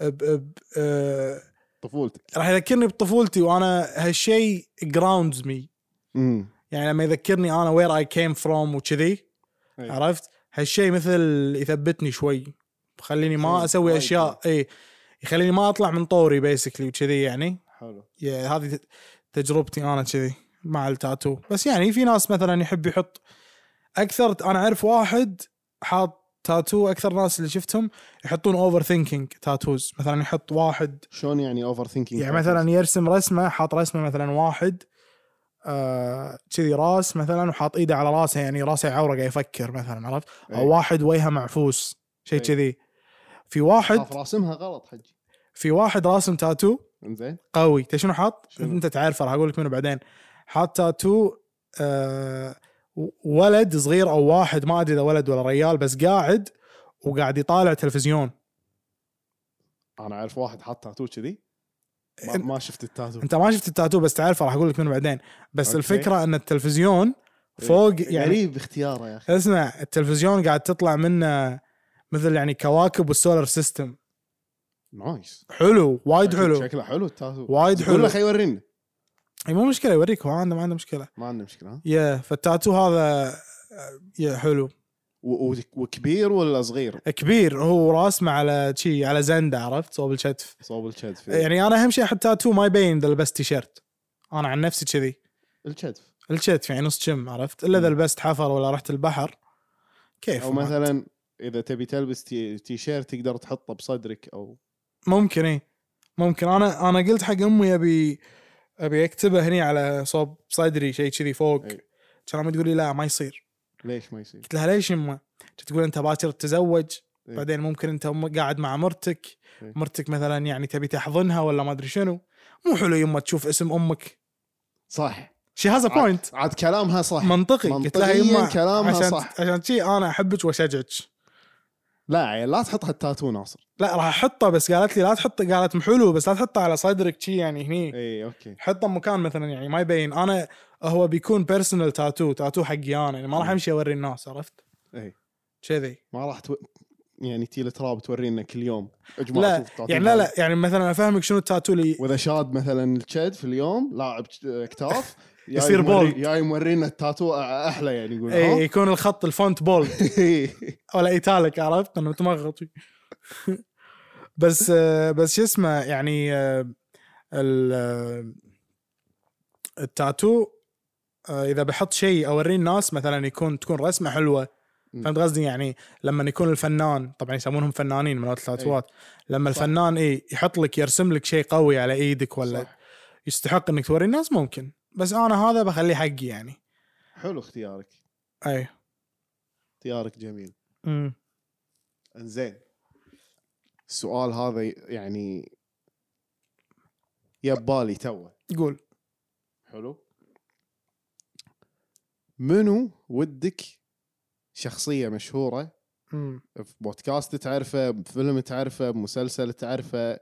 ب ب آه،
طفولتك
راح يذكرني بطفولتي وانا هالشيء جراوندز مي
امم
يعني لما يذكرني انا وير اي كيم فروم وكذي
أي.
عرفت هالشيء مثل يثبتني شوي خليني ما
شيء
اسوي
إيه، وايد
اشياء اي يخليني ما اطلع من طوري بيسكلي وكذي يعني
حلو
يا- هذه ت- تجربتي انا كذي مع التاتو بس يعني في ناس مثلا يحب يحط اكثر انا اعرف واحد حاط تاتو اكثر ناس اللي شفتهم يحطون اوفر ثينكينج تاتوز مثلا يحط واحد
شلون يعني اوفر ثينكينج
يعني مثلا يرسم رسمه حاط رسمه مثلا واحد آه، كذي راس مثلا وحاط ايده على راسه يعني راسه يعوره قاعد يفكر مثلا عرفت
أي.
او واحد وجهه معفوس شيء
أي.
كذي في واحد
خاف راسمها غلط حجي
في واحد راسم تاتو
انزين
قوي انت شنو حاط؟
شنو؟
انت تعرفه راح اقول لك منه بعدين حاط تاتو آه ولد صغير او واحد ما ادري اذا ولد ولا ريال بس قاعد وقاعد يطالع تلفزيون
انا اعرف واحد حط تاتو كذي ما, ما شفت التاتو
انت ما شفت التاتو بس تعرفه راح اقول لك منه بعدين بس
أوكي. إيه.
أوكي. الفكره ان التلفزيون فوق يعني
غريب اختياره يا اخي
اسمع التلفزيون قاعد تطلع منه مثل يعني كواكب والسولار سيستم
نايس يعني
حلو وايد حلو
شكله حلو التاتو
وايد
قول
حلو
له خي يورينا
اي مو مشكله يوريك هو عنده ما عنده مشكله
ما عندنا مشكله ها
يا فالتاتو هذا آه، يا حلو
و- و- وكبير ولا صغير
كبير هو راسمه على شي على زنده عرفت صوب الكتف
صوب الكتف
يعني انا اهم شيء احط تاتو ما يبين اذا لبست تيشيرت انا عن نفسي كذي
الكتف
الكتف يعني نص شم عرفت الا اذا
مم.
لبست حفر ولا رحت البحر كيف
او مثلا اذا تبي تلبس تي, تي شيرت تقدر تحطه بصدرك او
ممكن اي ممكن انا انا قلت حق امي ابي ابي اكتبه هني على صوب صدري شيء كذي فوق
أي.
كان امي تقول لي لا ما يصير
ليش ما يصير؟
قلت لها ليش يما كانت تقول انت باكر تتزوج
أي.
بعدين ممكن انت م- قاعد مع مرتك
أي.
مرتك مثلا يعني تبي تحضنها ولا ما ادري شنو مو حلو يما تشوف اسم امك
صح
شي هاز بوينت
عاد, عاد كلامها صح
منطقي قلت لها يما
منطقيا كلامها
عشان
صح.
عشان شي انا احبك واشجعك
لا عيل لا تحط هالتاتو ناصر
لا راح احطه بس قالت لي لا تحطه قالت حلو بس لا تحطه على صدرك شي يعني هني
اي اوكي
حطه مكان مثلا يعني ما يبين انا هو بيكون بيرسونال تاتو تاتو حقي انا يعني ما راح امشي اوري الناس عرفت؟
إي.
كذي
ما راح تو... يعني تي لتراب تورينا كل يوم اجمع
لا،
شوف التاتو
يعني لا
مالي.
لا يعني مثلا افهمك شنو التاتو اللي
واذا شاد مثلا الشد في اليوم لاعب ش- آه،
*laughs*
اكتاف جاي
يصير إيه،
موري-
بولد.
جاي مورينا التاتو احلى يعني يقول
إي،
ها؟
يكون الخط الفونت بولد
*laughs*
ولا ايتالك عرفت انه متمغط *laughs* بس آه، بس شو اسمه يعني آه، ال- آه، التاتو آه، اذا بحط شيء اوريه الناس مثلا يكون تكون رسمه حلوه
م.
فهمت قصدي يعني لما يكون الفنان طبعا يسمونهم فنانين من التاتوات لما
صح.
الفنان اي يحط لك يرسم لك شيء قوي على ايدك ولا
صح.
يستحق انك توري الناس ممكن بس انا هذا بخليه حقي يعني
حلو اختيارك
اي
اختيارك جميل انزين السؤال هذا يعني يبالي توه
قول
حلو منو ودك شخصية مشهورة
مم.
في بودكاست تعرفه بفيلم تعرفه بمسلسل تعرفه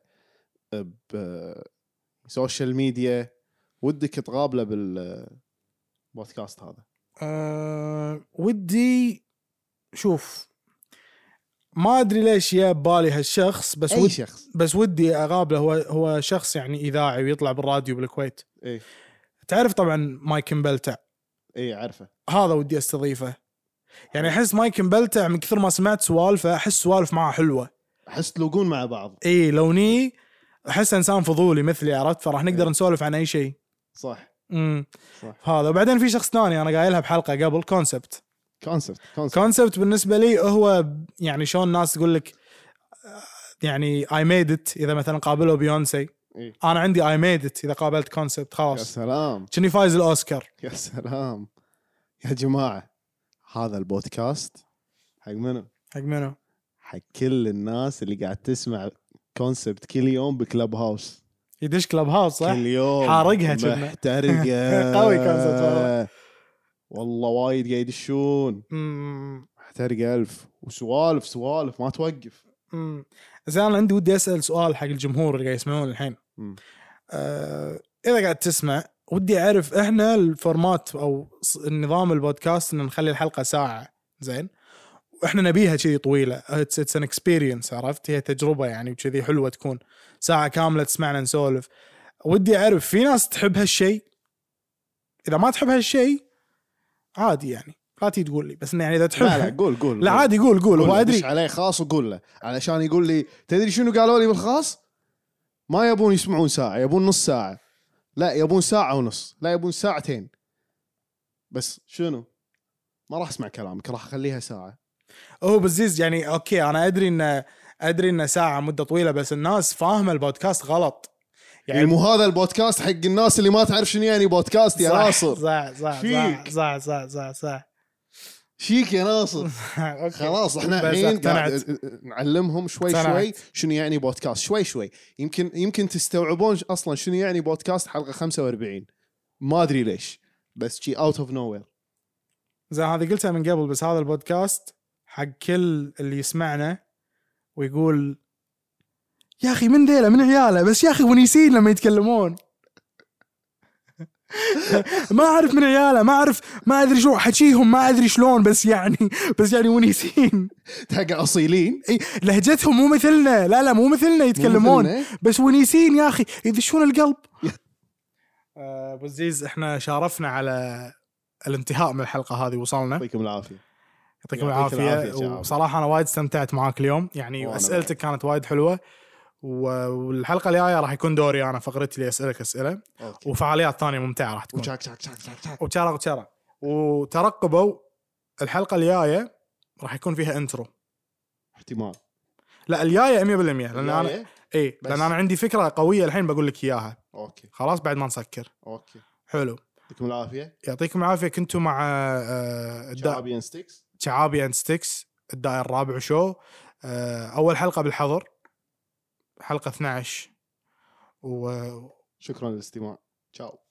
بسوشيال ميديا ودك تقابله بالبودكاست هذا
أه ودي شوف ما ادري ليش يا ببالي هالشخص بس
أي
ود
شخص
بس ودي اقابله هو هو شخص يعني اذاعي ويطلع بالراديو بالكويت
إيه.
تعرف طبعا مايك مبلتع
اي عارفه
هذا ودي استضيفه يعني احس مايك مبلتع من كثر ما سمعت سوالفه احس سوالف معه حلوه
احس تلوقون مع بعض
اي لوني احس انسان فضولي مثلي عرفت فراح نقدر
إيه.
نسولف عن اي شيء
صح
امم
صح
هذا وبعدين في شخص ثاني انا قايلها بحلقه قبل كونسبت
كونسبت كونسبت
كونسبت بالنسبه لي هو يعني شلون الناس تقول لك آه، يعني اي ميد ات اذا مثلا قابلوا بيونسي
إيه.
انا عندي اي ميد ات اذا قابلت كونسبت
يا
خلاص
سلام
كني فايز الاوسكار
يا سلام يا جماعة هذا البودكاست حق منو؟
حق منو؟
حق كل الناس اللي قاعد تسمع كونسبت كل يوم بكلب هاوس
يدش كلب هاوس صح؟
كل يوم *laughs*
حارقها كنا.
محترقة
*laughs* قوي concept والله.
والله وايد قاعد يدشون
أمم،
محترقة ألف وسوالف سوالف ما توقف
أمم. زين انا عندي ودي اسال سؤال حق الجمهور اللي قاعد يسمعون الحين
مم.
آه اذا قاعد تسمع ودي اعرف احنا الفورمات او ص- النظام البودكاست ان نخلي الحلقه ساعه زين واحنا نبيها كذي طويله اتس ان اكسبيرينس عرفت هي تجربه يعني وكذي حلوه تكون ساعه كامله تسمعنا نسولف ودي اعرف في ناس تحب هالشيء اذا ما تحب هالشيء عادي يعني لا تيجي تقول لي بس إنه يعني اذا تحب *laughs*
لا لا قول قول
لا عادي قول قول هو ادري
دش عليه خاص وقول له علشان يقول لي تدري شنو قالوا لي بالخاص؟ ما يبون يسمعون ساعة يبون نص ساعة لا يبون ساعة ونص لا يبون ساعتين بس شنو؟ ما راح اسمع كلامك راح اخليها ساعة
هو بزيز يعني اوكي انا ادري ان ادري ان ساعه مده طويله بس الناس فاهمه البودكاست غلط
يعني مو هذا البودكاست حق الناس اللي ما تعرف شنو يعني بودكاست يا ناصر
صح صح صح
فيك.
صح صح صح صح *laughs*
شيك يا ناصر
أوكي.
خلاص احنا
بس
الحين
اقتنعت.
قاعد نعلمهم شوي
اقتنعت.
شوي شنو يعني بودكاست شوي شوي يمكن يمكن تستوعبون اصلا شنو يعني بودكاست حلقه 45 ما ادري ليش بس شي اوت اوف نو *laughs* وير
زين هذه قلتها من قبل بس هذا البودكاست حق كل اللي يسمعنا ويقول يا اخي من ديله من عياله بس يا اخي ونيسين لما يتكلمون *laughs* ما اعرف من عياله ما اعرف ما ادري شو حكيهم ما ادري شلون بس يعني بس يعني ونيسين
حق اصيلين
اي لهجتهم مو مثلنا لا لا مو مثلنا يتكلمون
مثلنا.
بس ونيسين يا اخي يدشون القلب آه، ابو عزيز احنا شارفنا على الانتهاء من الحلقه هذه وصلنا
يعطيكم العافيه
يعطيكم
يعطيك
العافيه
العافية، شباب.
وصراحه انا وايد استمتعت معاك اليوم يعني
وأنا
اسئلتك كانت وايد حلوه و- والحلقه الجايه راح يكون دوري انا فقرتي اللي اسالك اسئله
اوكي
وفعاليات ثانيه ممتعه راح تكون
وشاك شاك شاك شاك شاك
وتشارة وتشارة وترقبوا الحلقه الجايه راح يكون فيها انترو
احتمال
لا الجايه 100% لان انا
الجاية
اي
بس.
لان انا إيه، عندي فكره قويه الحين بقول لك اياها
اوكي
خلاص بعد ما نسكر
اوكي
حلو
يعطيكم العافيه
يعطيكم العافيه كنتوا مع آه، الدا-
شعبي ستيكس
شعابي اند ستيكس الدائر الرابع شو آه، اول حلقه بالحظر حلقه 12 و
شكرا للاستماع تشاو